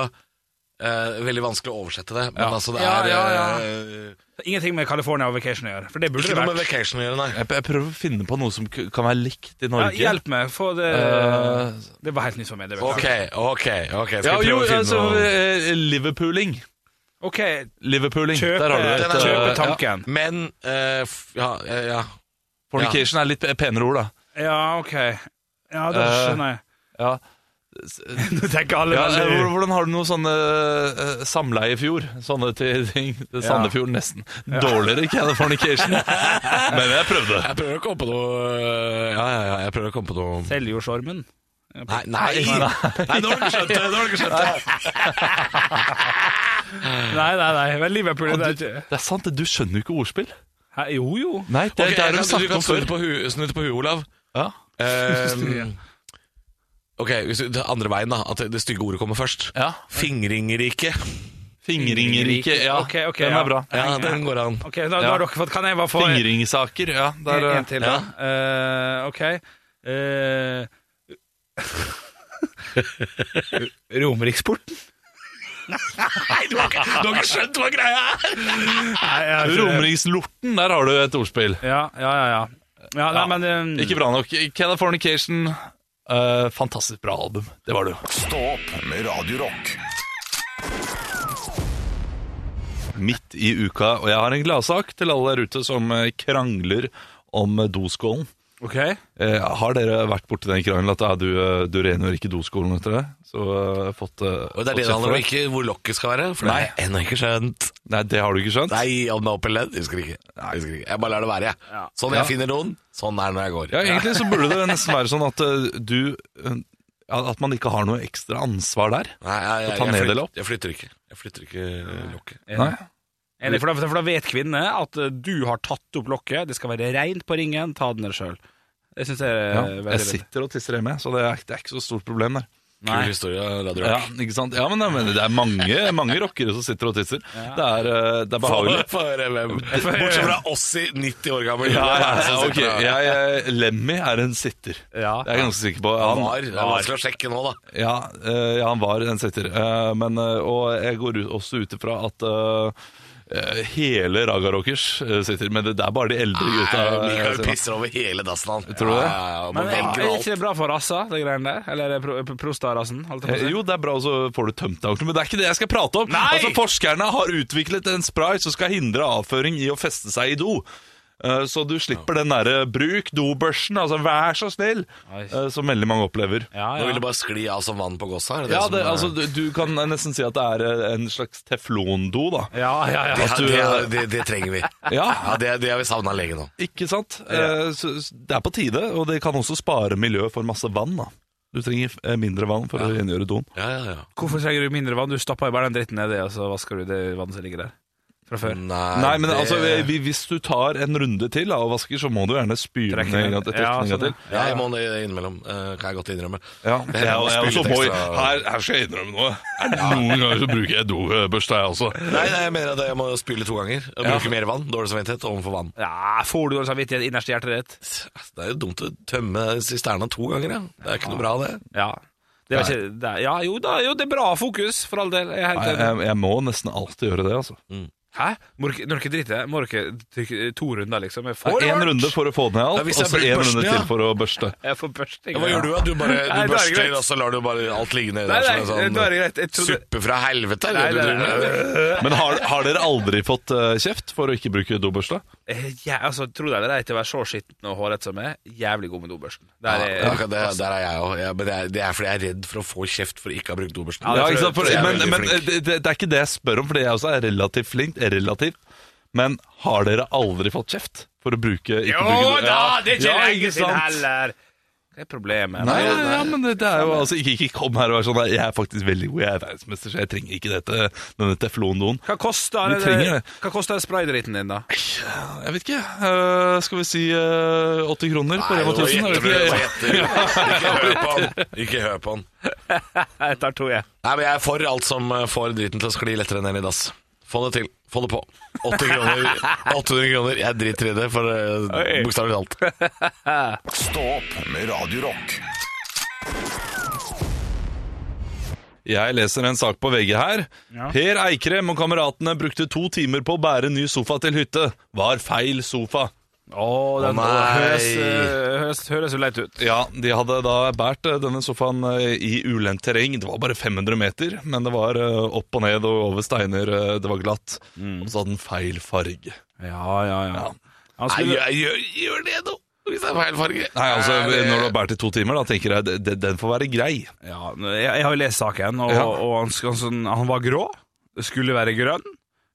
[SPEAKER 4] eh, Veldig vanskelig å oversette det, men altså det
[SPEAKER 3] Ja,
[SPEAKER 4] er
[SPEAKER 3] ja, ja.
[SPEAKER 4] eh,
[SPEAKER 3] Ingenting med California og vacation å gjøre, for det burde
[SPEAKER 4] Ikke
[SPEAKER 3] det
[SPEAKER 4] noe med
[SPEAKER 3] vært.
[SPEAKER 4] vacation å gjøre, nei.
[SPEAKER 5] eh, Jeg, jeg prøver å finne på noe som k- kan være likt i
[SPEAKER 3] Ja,
[SPEAKER 5] Norge.
[SPEAKER 3] hjelp meg, få det
[SPEAKER 5] Eh,
[SPEAKER 3] Det var helt nytt for meg. Det vet
[SPEAKER 4] Ok,
[SPEAKER 3] jeg.
[SPEAKER 4] ok, ok. Skal
[SPEAKER 5] ja,
[SPEAKER 4] vi
[SPEAKER 5] jo,
[SPEAKER 4] prøve å finne
[SPEAKER 5] altså,
[SPEAKER 4] noe
[SPEAKER 5] eh, Liverpooling.
[SPEAKER 3] Ok,
[SPEAKER 5] Liverpooling.
[SPEAKER 3] Kjøpe-
[SPEAKER 5] Der har du
[SPEAKER 4] den
[SPEAKER 5] et
[SPEAKER 4] er-
[SPEAKER 5] eh,
[SPEAKER 3] kjøpe
[SPEAKER 5] ja.
[SPEAKER 3] tanken.
[SPEAKER 4] Men eh, f- ja, eh, ja.
[SPEAKER 5] Fornication er litt penere ord, da.
[SPEAKER 3] Ja, ok. Ja, det
[SPEAKER 5] Eh,
[SPEAKER 3] skjønner jeg.
[SPEAKER 5] Ja.
[SPEAKER 3] Nå tenker alle
[SPEAKER 5] Ja,
[SPEAKER 3] veldig-
[SPEAKER 5] eh, hvordan har du noe sånne eh, samleiefjord? Sånne ti- ting. Sandefjord, nesten. Dårligere Californication. Men jeg prøvde.
[SPEAKER 4] Jeg prøver å komme på noe eh, Ja, ja, ja, jeg prøver å komme på noe
[SPEAKER 3] Seljordsormen.
[SPEAKER 4] Nei, nei,
[SPEAKER 5] Nei,
[SPEAKER 4] nei, nå har du ikke skjønt det! Nå har du ikke skjønt det.
[SPEAKER 3] Nei, nei, nei. Men Liverpool det er
[SPEAKER 5] Du,
[SPEAKER 3] ikke
[SPEAKER 5] det er sant, du skjønner jo ikke ordspill.
[SPEAKER 3] Hæ, Jo, jo.
[SPEAKER 5] Nei, det,
[SPEAKER 4] Ok,
[SPEAKER 5] det
[SPEAKER 4] jeg kan-
[SPEAKER 5] er jo
[SPEAKER 4] du
[SPEAKER 5] snakket
[SPEAKER 4] kan
[SPEAKER 5] om
[SPEAKER 4] snu
[SPEAKER 5] før.
[SPEAKER 4] det på huet, snu det på huet, Olav.
[SPEAKER 5] Ja.
[SPEAKER 4] Ehm, ok, hvis du- det andre veien da At det- det stygge ordet kommer først
[SPEAKER 5] Ja.
[SPEAKER 4] Fingringerike
[SPEAKER 5] Fingringerike. Ja,
[SPEAKER 3] Ok, ok,
[SPEAKER 5] den
[SPEAKER 3] ja.
[SPEAKER 5] er bra.
[SPEAKER 4] Ja, den går an
[SPEAKER 3] Ok, da, da
[SPEAKER 5] Ja.
[SPEAKER 3] har dere fått Kan jeg bare få en,
[SPEAKER 5] Fingringssaker, ja. Der, eh,
[SPEAKER 3] en til, da? Eh, ok. Eh, Eh, Romeriksporten?
[SPEAKER 4] Du har ikke skjønt hva greia er
[SPEAKER 3] Nei, jeg har ikke det.
[SPEAKER 5] Romerikslorten, der har du et ordspill.
[SPEAKER 3] Ja, ja, ja. ja. ja nei,
[SPEAKER 5] Ja,
[SPEAKER 3] men um,
[SPEAKER 5] Ikke bra nok. Californication, eh, fantastisk bra album. Det var det jo.
[SPEAKER 1] Stå opp med Radio Rock.
[SPEAKER 5] Midt i uka, og jeg har en gladsak til alle der ute som eh, krangler om eh, doskålen.
[SPEAKER 3] Ok.
[SPEAKER 5] Eh, har dere vært borti den krangelen at eh, du, eh, du rengjør ikke doskålen etter det? Så eh, fått,
[SPEAKER 4] Og
[SPEAKER 5] eh,
[SPEAKER 4] det er
[SPEAKER 5] fått
[SPEAKER 4] det det
[SPEAKER 5] kjeft
[SPEAKER 4] handler
[SPEAKER 5] for
[SPEAKER 4] om Ikke hvor lokket skal være For det
[SPEAKER 5] Nei.
[SPEAKER 4] har jeg ennå ikke skjønt
[SPEAKER 5] Nei, det har du ikke skjønt?
[SPEAKER 4] Nei, om det er opp eller ned Husker ikke Husker ikke Jeg bare lar det være jeg. Sånn jeg finner noen Sånn er det når jeg går
[SPEAKER 5] Ja, egentlig så burde det nesten være sånn at eh, du eh, At man ikke har noe ekstra ansvar der.
[SPEAKER 4] Nei, jeg, jeg,
[SPEAKER 5] Ta
[SPEAKER 4] jeg,
[SPEAKER 5] ned eller
[SPEAKER 4] flytter,
[SPEAKER 5] opp?
[SPEAKER 4] jeg flytter ikke Jeg flytter ikke eh, lokket
[SPEAKER 5] Nei.
[SPEAKER 3] Eller, for, da, for da vet kvinnene at eh, du har tatt opp lokket, det skal være reint på ringen, ta den der sjøl. Det syns jeg er
[SPEAKER 4] eh,
[SPEAKER 5] Ja,
[SPEAKER 3] veldig
[SPEAKER 5] jeg sitter og tisser hjemme, så det er, det er ikke så stort problem der.
[SPEAKER 3] Nei.
[SPEAKER 4] Kul historie, Radio
[SPEAKER 5] Ja,
[SPEAKER 4] Rock
[SPEAKER 5] ikke sant? Ja, men, det- men det er mange, mange rockere som sitter og tisser. Det er, eh, det er behagelig.
[SPEAKER 4] Få høre hvem Bortsett fra oss i 90 år gammel
[SPEAKER 5] Ja, ja, ja,
[SPEAKER 4] som
[SPEAKER 5] ok.
[SPEAKER 4] sitter der.
[SPEAKER 5] Jeg, eh, Lemmy er en sitter.
[SPEAKER 3] Ja.
[SPEAKER 5] Det er jeg ganske sikker på.
[SPEAKER 4] Han var, det er vanskelig å sjekke nå da
[SPEAKER 5] ja, eh, ja, han var en sitter. Eh, Men, eh, og jeg går ut- også ut ifra at eh, eh, hele Raga Rockers eh, sitter, men det det er bare de eldre gutta.
[SPEAKER 4] Nei,
[SPEAKER 5] eh,
[SPEAKER 4] Mikael
[SPEAKER 5] sitter.
[SPEAKER 4] pisser over hele dassen han.
[SPEAKER 5] Tror du det?
[SPEAKER 4] Ja, ja, ja,
[SPEAKER 3] Men
[SPEAKER 4] man
[SPEAKER 3] er,
[SPEAKER 4] velger
[SPEAKER 3] er
[SPEAKER 4] alt.
[SPEAKER 3] ikke det bra for rassa, det greiene der? Eller er det pro pro- prostarassen? holdt jeg på å
[SPEAKER 5] Eh,
[SPEAKER 3] si?
[SPEAKER 5] Jo, det er bra, og så får du tømt deg ordentlig. Men det er ikke det jeg skal prate om.
[SPEAKER 3] altså. Nei!
[SPEAKER 5] Altså, Forskerne har utviklet en spray som skal hindre avføring i å feste seg i do. Eh, Så du slipper den derre 'bruk dobørsten', altså vær så snill,
[SPEAKER 3] Oi.
[SPEAKER 5] eh, som veldig mange opplever.
[SPEAKER 3] Ja,
[SPEAKER 4] Nå vil det bare skli av som vann på gosset her. er
[SPEAKER 5] Ja,
[SPEAKER 4] som
[SPEAKER 5] det,
[SPEAKER 4] er-
[SPEAKER 5] altså, du, du kan nesten si at det er eh, en slags teflondo, da.
[SPEAKER 3] ja, ja, ja.
[SPEAKER 4] det,
[SPEAKER 5] at du-
[SPEAKER 4] det, det, det trenger vi.
[SPEAKER 5] Ja,
[SPEAKER 4] Ja, det, det har vi savna lenge nå.
[SPEAKER 5] ikke sant? Eh, Så, så det er på tide, og det kan også spare miljøet for masse vann, da. Du trenger eh, mindre vann for å rengjøre doen.
[SPEAKER 4] Ja, ja, ja.
[SPEAKER 3] Hvorfor trenger du mindre vann? Du stapper jo bare den dritten nedi, og så vasker du det vannet som ligger der fra før.
[SPEAKER 5] Nei, men altså, vi- hvis du tar en runde til da, og vasker, så må du gjerne spyle
[SPEAKER 3] Trekke
[SPEAKER 5] den en
[SPEAKER 3] ned.
[SPEAKER 5] gang til. trekke
[SPEAKER 3] Ja,
[SPEAKER 5] den en gang
[SPEAKER 3] sånn,
[SPEAKER 5] til.
[SPEAKER 4] ja, jeg må det innimellom, eh, kan jeg godt innrømme.
[SPEAKER 5] Ja,
[SPEAKER 4] Det er noe
[SPEAKER 5] jeg også
[SPEAKER 4] spyletekst,
[SPEAKER 5] må,
[SPEAKER 4] da.
[SPEAKER 5] her, her skal jeg innrømme noe. Er det Noen ganger så bruker jeg dobørste, jeg også.
[SPEAKER 4] Nei, nei, jeg mener at jeg må spyle to ganger. Og
[SPEAKER 5] Ja.
[SPEAKER 4] bruke mer vann. Dårlig samvittighet overfor vann. altså,
[SPEAKER 3] Ja, Får du dårlig samvittighet innerst i hjertet ditt?
[SPEAKER 4] Det er jo dumt å tømme sisterna to ganger, ja. Det er ikke noe bra, det.
[SPEAKER 3] Ja. Det var ikke, det, ja, jo da, jo, det er bra fokus, for all del. Jeg er helt
[SPEAKER 5] Jeg,
[SPEAKER 3] enig.
[SPEAKER 5] jeg, jeg må nesten alltid gjøre det, altså.
[SPEAKER 3] Hæ? Må dere når dere driter dere? Må dere trykke to runder, liksom? Jeg får
[SPEAKER 5] Én
[SPEAKER 3] det.
[SPEAKER 5] runde for å få ned alt,
[SPEAKER 4] Ja, hvis jeg
[SPEAKER 5] og så
[SPEAKER 4] bruker
[SPEAKER 5] én
[SPEAKER 4] børsten,
[SPEAKER 5] runde
[SPEAKER 4] ja.
[SPEAKER 5] til for å børste.
[SPEAKER 3] Jeg får børsting.
[SPEAKER 4] Ja, Hva gjør du? da? Du bare du
[SPEAKER 3] Nei, da er det
[SPEAKER 4] børster,
[SPEAKER 3] greit.
[SPEAKER 4] og så lar du bare alt ligge
[SPEAKER 3] Nei,
[SPEAKER 4] nedi der?
[SPEAKER 3] nei,
[SPEAKER 4] som en sånn
[SPEAKER 3] da er det greit. Jeg trodde-
[SPEAKER 4] Suppe fra helvete? er
[SPEAKER 3] Nei,
[SPEAKER 4] det du
[SPEAKER 3] nei, nei,
[SPEAKER 4] driver med?
[SPEAKER 5] Men har, har dere aldri fått eh, kjeft for å ikke bruke dobørste?
[SPEAKER 3] Eh, Jeg altså, tror det eller ei til å være så skitten og hårete som jeg. er, Jævlig god med dobørsten. Det
[SPEAKER 4] Ja,
[SPEAKER 3] er,
[SPEAKER 4] ja, akkurat det, der er jeg òg. Ja, men det er, det er fordi jeg er redd for å få kjeft for ikke å ha brukt dobørsten.
[SPEAKER 3] Ja, det
[SPEAKER 5] Ja,
[SPEAKER 3] tror
[SPEAKER 5] ikke
[SPEAKER 3] jeg-
[SPEAKER 5] sant? For,
[SPEAKER 4] jeg er
[SPEAKER 5] men
[SPEAKER 4] veldig
[SPEAKER 5] men
[SPEAKER 4] flink.
[SPEAKER 5] det, det er ikke det jeg spør om, fordi jeg også er relativt flink. er Relativt. Men har dere aldri fått kjeft for å bruke ikke
[SPEAKER 3] jo
[SPEAKER 5] bruke
[SPEAKER 3] da, det er ikke
[SPEAKER 5] Ja,
[SPEAKER 3] lenge siden
[SPEAKER 5] sant?
[SPEAKER 3] heller! Hva er problemet? eh,
[SPEAKER 5] Nei, ja, ja, men det, det er jo altså ikke, ikke kom her og vær sånn Jeg er faktisk veldig god, jeg er verdensmester, så jeg trenger ikke dette, denne teflondoen.
[SPEAKER 3] Hva koster
[SPEAKER 5] Vi
[SPEAKER 3] det-
[SPEAKER 5] trenger det.
[SPEAKER 3] Hva koster spraydritten din, da?
[SPEAKER 5] Jeg vet ikke. øh, skal vi si øh, 80 kroner på Rema 1000?
[SPEAKER 4] Nei,
[SPEAKER 5] Jeg
[SPEAKER 4] det
[SPEAKER 5] vet
[SPEAKER 4] var
[SPEAKER 5] ikke.
[SPEAKER 4] gjettebra. Ikke hør på han. Ikke hør på han.
[SPEAKER 3] Jeg tar to, jeg.
[SPEAKER 4] Nei, men jeg er for alt som eh, får driten til å skli lettere ned i dass. Få det til. Få det på. 80 kroner. 800 kroner. Jeg driter i det, for eh,
[SPEAKER 3] Oi.
[SPEAKER 4] bokstavelig talt.
[SPEAKER 1] Stå opp med Radio Rock.
[SPEAKER 5] Jeg leser en sak på VG her.
[SPEAKER 3] Ja.
[SPEAKER 5] Per Eikrem og kameratene brukte to timer på å bære ny sofa til hytte. Var feil sofa.
[SPEAKER 3] Å, den
[SPEAKER 4] Å, nei.
[SPEAKER 3] høres, eh, høres, høres jo leit ut.
[SPEAKER 5] Ja, de hadde da båret eh, denne sofaen eh, i ulendt terreng. Det var bare 500 meter, men det var eh, opp og ned og over steiner. eh, Det var glatt.
[SPEAKER 4] Mm.
[SPEAKER 5] Og så hadde den feil farge.
[SPEAKER 3] Ja, ja, ja. Han
[SPEAKER 4] Nei,
[SPEAKER 3] skulle,
[SPEAKER 4] gjør, gjør, gjør det nå! Hvis det er feil farge.
[SPEAKER 5] Nei, altså,
[SPEAKER 4] Nei, det-
[SPEAKER 5] Når du har båret i to timer, da tenker jeg det- det- den får være grei.
[SPEAKER 3] ja, jeg, jeg har jo lest saken, og,
[SPEAKER 5] Ja.
[SPEAKER 3] og han, sk- han, sånn- han var grå, skulle være grønn.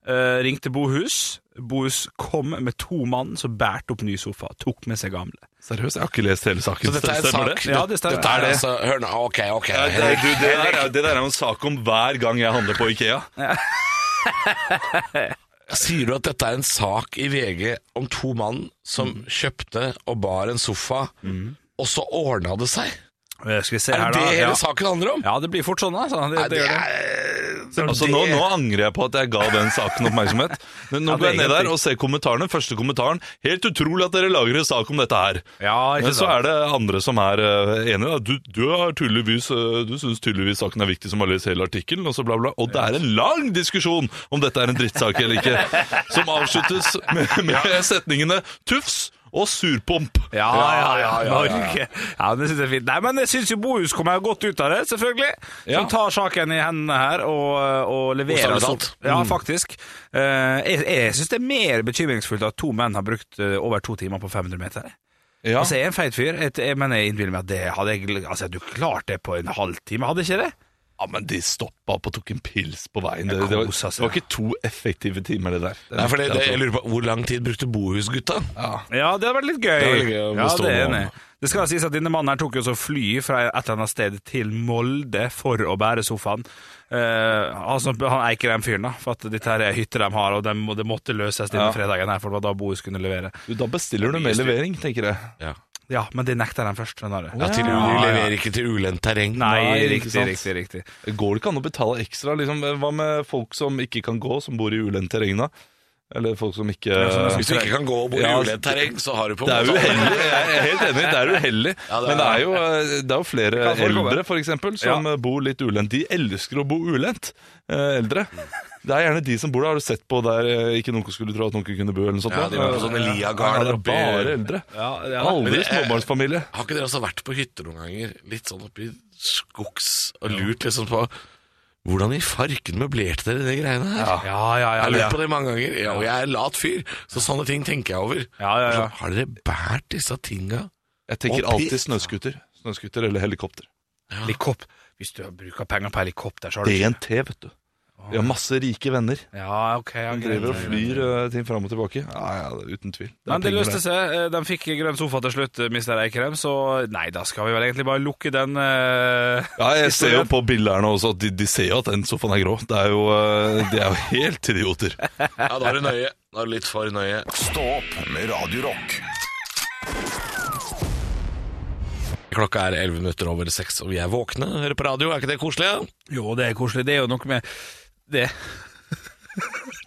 [SPEAKER 3] eh, ringte Bohus. Bohus kom med to mann som bærte opp ny sofa. Tok med seg gamle.
[SPEAKER 5] Seriøst, jeg har ikke lest hele saken.
[SPEAKER 4] Så dette er en
[SPEAKER 5] Stemmer
[SPEAKER 4] sak
[SPEAKER 5] det?
[SPEAKER 3] Ja, det stemmer.
[SPEAKER 4] Dette er
[SPEAKER 3] Ja.
[SPEAKER 4] altså, hør nå, ok, ok.
[SPEAKER 5] Ja, Det,
[SPEAKER 4] Henrik.
[SPEAKER 5] du, det, der, er- det der er jo en sak om hver gang jeg handler på Ikea.
[SPEAKER 4] Sier du at dette er en sak i VG om to mann som kjøpte og bar en sofa, og så ordna det seg?
[SPEAKER 3] Eh, Skal vi se
[SPEAKER 4] Er
[SPEAKER 3] her,
[SPEAKER 4] det
[SPEAKER 3] da.
[SPEAKER 4] det hele
[SPEAKER 3] ja.
[SPEAKER 4] saken handler om?
[SPEAKER 3] ja, det blir fort sånn, da. Sånn, det,
[SPEAKER 4] Nei,
[SPEAKER 3] det gjør det.
[SPEAKER 4] det er-
[SPEAKER 5] Altså, nå, nå angrer jeg på at jeg ga den saken oppmerksomhet. Men nå
[SPEAKER 3] Ja, det
[SPEAKER 5] går
[SPEAKER 3] er
[SPEAKER 5] jeg ned
[SPEAKER 3] helt
[SPEAKER 5] der og ser kommentarene. Første kommentaren Helt utrolig at dere lager en sak om dette her.
[SPEAKER 3] Ja, ikke
[SPEAKER 5] Men så
[SPEAKER 3] sant?
[SPEAKER 5] er det andre som er eh, enige. da. Du, du, har tydeligvis, eh, du syns tydeligvis saken er viktig som har lest hele artikkelen, og så bla, bla. Og det er en lang diskusjon om dette er en drittsak eller ikke, som avsluttes med, med setningene tufs og surpomp.
[SPEAKER 3] Ja, ja, ja,
[SPEAKER 4] ja, ja, ja.
[SPEAKER 3] Norge. Ja, det synes jeg er fint. Nei, men jeg synes jo Bohus kommer godt ut av det, selvfølgelig.
[SPEAKER 5] Ja.
[SPEAKER 3] Som tar saken i hendene her og, og leverer
[SPEAKER 4] Bokstavelig talt.
[SPEAKER 3] Ja, faktisk. Eh, jeg jeg synes det er mer bekymringsfullt at to menn har brukt eh, over to timer på 500 meter.
[SPEAKER 5] Ja.
[SPEAKER 3] Altså, jeg er en feit fyr, et- jeg- men jeg innbiller meg at det hadde jeg gl- Altså, du klarte det på en halvtime, hadde ikke det?
[SPEAKER 5] Ja, men de stoppa opp og tok en pils på veien. Det,
[SPEAKER 3] Jeg
[SPEAKER 5] det, var,
[SPEAKER 3] kosa
[SPEAKER 5] det
[SPEAKER 3] seg.
[SPEAKER 5] var ikke to effektive timer, det der.
[SPEAKER 4] Nei, for det, det, jeg lurer på, Hvor lang tid brukte Bohus-gutta?
[SPEAKER 3] Ja, det hadde vært litt gøy.
[SPEAKER 4] Det hadde vært gøy å
[SPEAKER 3] ja,
[SPEAKER 4] bestå
[SPEAKER 3] det er
[SPEAKER 4] noe
[SPEAKER 3] enig.
[SPEAKER 4] annet.
[SPEAKER 3] Det skal sies at denne mannen her tok jo så fly fra et eller annet sted til Molde for å bære sofaen. Eh, altså, han eiker den fyren, da, for at dette her er hytte de har, og det må, det måtte løses denne
[SPEAKER 5] Ja.
[SPEAKER 3] fredagen her, for det var da Bohus kunne levere.
[SPEAKER 5] Du, Da bestiller du med levering, tenker jeg.
[SPEAKER 4] Ja,
[SPEAKER 3] Ja, men det nekta de først, skjønner du.
[SPEAKER 4] ja til
[SPEAKER 3] Ja,
[SPEAKER 4] Du
[SPEAKER 3] ja.
[SPEAKER 4] leverer ikke til ulendt terreng.
[SPEAKER 3] Nei,
[SPEAKER 5] Nei, ikke
[SPEAKER 3] riktig,
[SPEAKER 5] sant.
[SPEAKER 3] riktig, riktig.
[SPEAKER 5] Går det ikke an å betale ekstra? Liksom, hva med folk som ikke kan gå, som bor i ulendt terreng? da? Eller folk som ikke
[SPEAKER 3] sånn,
[SPEAKER 4] Hvis du ikke kan gå og bo i
[SPEAKER 5] Ja,
[SPEAKER 4] ulendt terreng, så har du på en
[SPEAKER 5] Det er
[SPEAKER 4] måte alle-
[SPEAKER 5] uheldig, jeg er helt enig. Det er uheldig.
[SPEAKER 4] altså. Ja, det er-
[SPEAKER 5] Men det er jo, eh, det er jo flere
[SPEAKER 3] kan foregå,
[SPEAKER 5] eldre for eksempel, som
[SPEAKER 3] Ja.
[SPEAKER 5] eh, bor litt ulendt. De elsker å bo ulendt, eh, eldre. Det er gjerne de som bor der. Har du sett på der eh, ikke noen skulle tro at noen kunne bo? eller noe sånt?
[SPEAKER 4] Ja, de bor på sånne liagarder oppi-
[SPEAKER 5] oppi Bare eldre.
[SPEAKER 4] Men
[SPEAKER 5] Aldri
[SPEAKER 4] det er-
[SPEAKER 5] småbarnsfamilie.
[SPEAKER 4] Har ikke dere også vært på hytter noen ganger, litt sånn oppi skogs, og lurt liksom på hvordan i farken møblerte dere de greiene her?
[SPEAKER 3] Ja, ja, ja.
[SPEAKER 4] Jeg
[SPEAKER 3] ja,
[SPEAKER 4] har lurt på det mange ganger, ja, og jeg er en lat fyr, så sånne ting tenker jeg over.
[SPEAKER 3] Ja, ja, ja.
[SPEAKER 4] Så, har dere båret disse tinga?
[SPEAKER 5] Jeg tenker
[SPEAKER 4] Og pi-
[SPEAKER 5] alltid snøskuter. Snøskuter eller helikopter.
[SPEAKER 3] Helikop- Hvis du bruker penger på helikopter, så har du ikke-
[SPEAKER 5] DNT, vet du. Vi har masse rike venner.
[SPEAKER 3] Ja, ok. Ja,
[SPEAKER 5] Han
[SPEAKER 3] greit.
[SPEAKER 5] driver og flyr eh, ting fram og tilbake. Ja, ja, det er uten tvil. Det er
[SPEAKER 3] Men det
[SPEAKER 5] penger
[SPEAKER 3] løste
[SPEAKER 5] der.
[SPEAKER 3] seg. Eh, De fikk grønn sofa til slutt, eh, Mr. Eikrem, så eh, nei, da skal vi vel egentlig bare lukke den eh,
[SPEAKER 5] Ja, jeg ser jo
[SPEAKER 3] historien.
[SPEAKER 5] på bildet her nå også at de, de ser jo at den sofaen er grå. Det er jo, eh, de er jo helt idioter.
[SPEAKER 4] Ja, da er du nøye. Da er du litt for nøye.
[SPEAKER 1] Stå opp med Radio Rock.
[SPEAKER 4] Klokka er 11 minutter over 6, og vi er våkne. Hører på radio, er ikke det koselig? Ja?
[SPEAKER 3] Jo, det er koselig. Det er jo noe med det.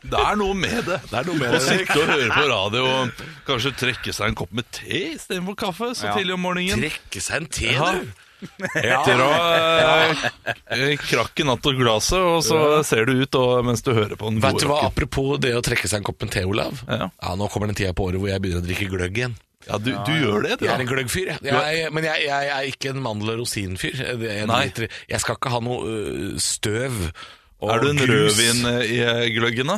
[SPEAKER 5] Det er noe med det.
[SPEAKER 4] Det er noe med
[SPEAKER 5] Å sitte og høre på radio og kanskje trekke seg en kopp med te istedenfor kaffe så tidlig om morgenen.
[SPEAKER 4] Trekke seg en te,
[SPEAKER 5] Ja.
[SPEAKER 4] du.
[SPEAKER 5] Etter å eh, krakke natt og glaset, og så ser du ut og, mens du hører på den
[SPEAKER 4] Vet
[SPEAKER 5] gode
[SPEAKER 4] du hva,
[SPEAKER 5] rocken.
[SPEAKER 4] Apropos det å trekke seg en kopp med te, Olav.
[SPEAKER 5] Ja.
[SPEAKER 4] Nå kommer den tida på året hvor jeg begynner å drikke gløgg igjen.
[SPEAKER 5] Ja, du, du gjør det, du.
[SPEAKER 4] Jeg
[SPEAKER 5] Ja.
[SPEAKER 4] er en gløggfyr, jeg. jeg. Men jeg, jeg er ikke en mandel- og rosinfyr. Det er en
[SPEAKER 5] Nei.
[SPEAKER 4] liter- Jeg skal ikke ha noe øh, støv og
[SPEAKER 5] Er du en
[SPEAKER 4] grus.
[SPEAKER 5] rødvin eh, i eh, gløggen, da?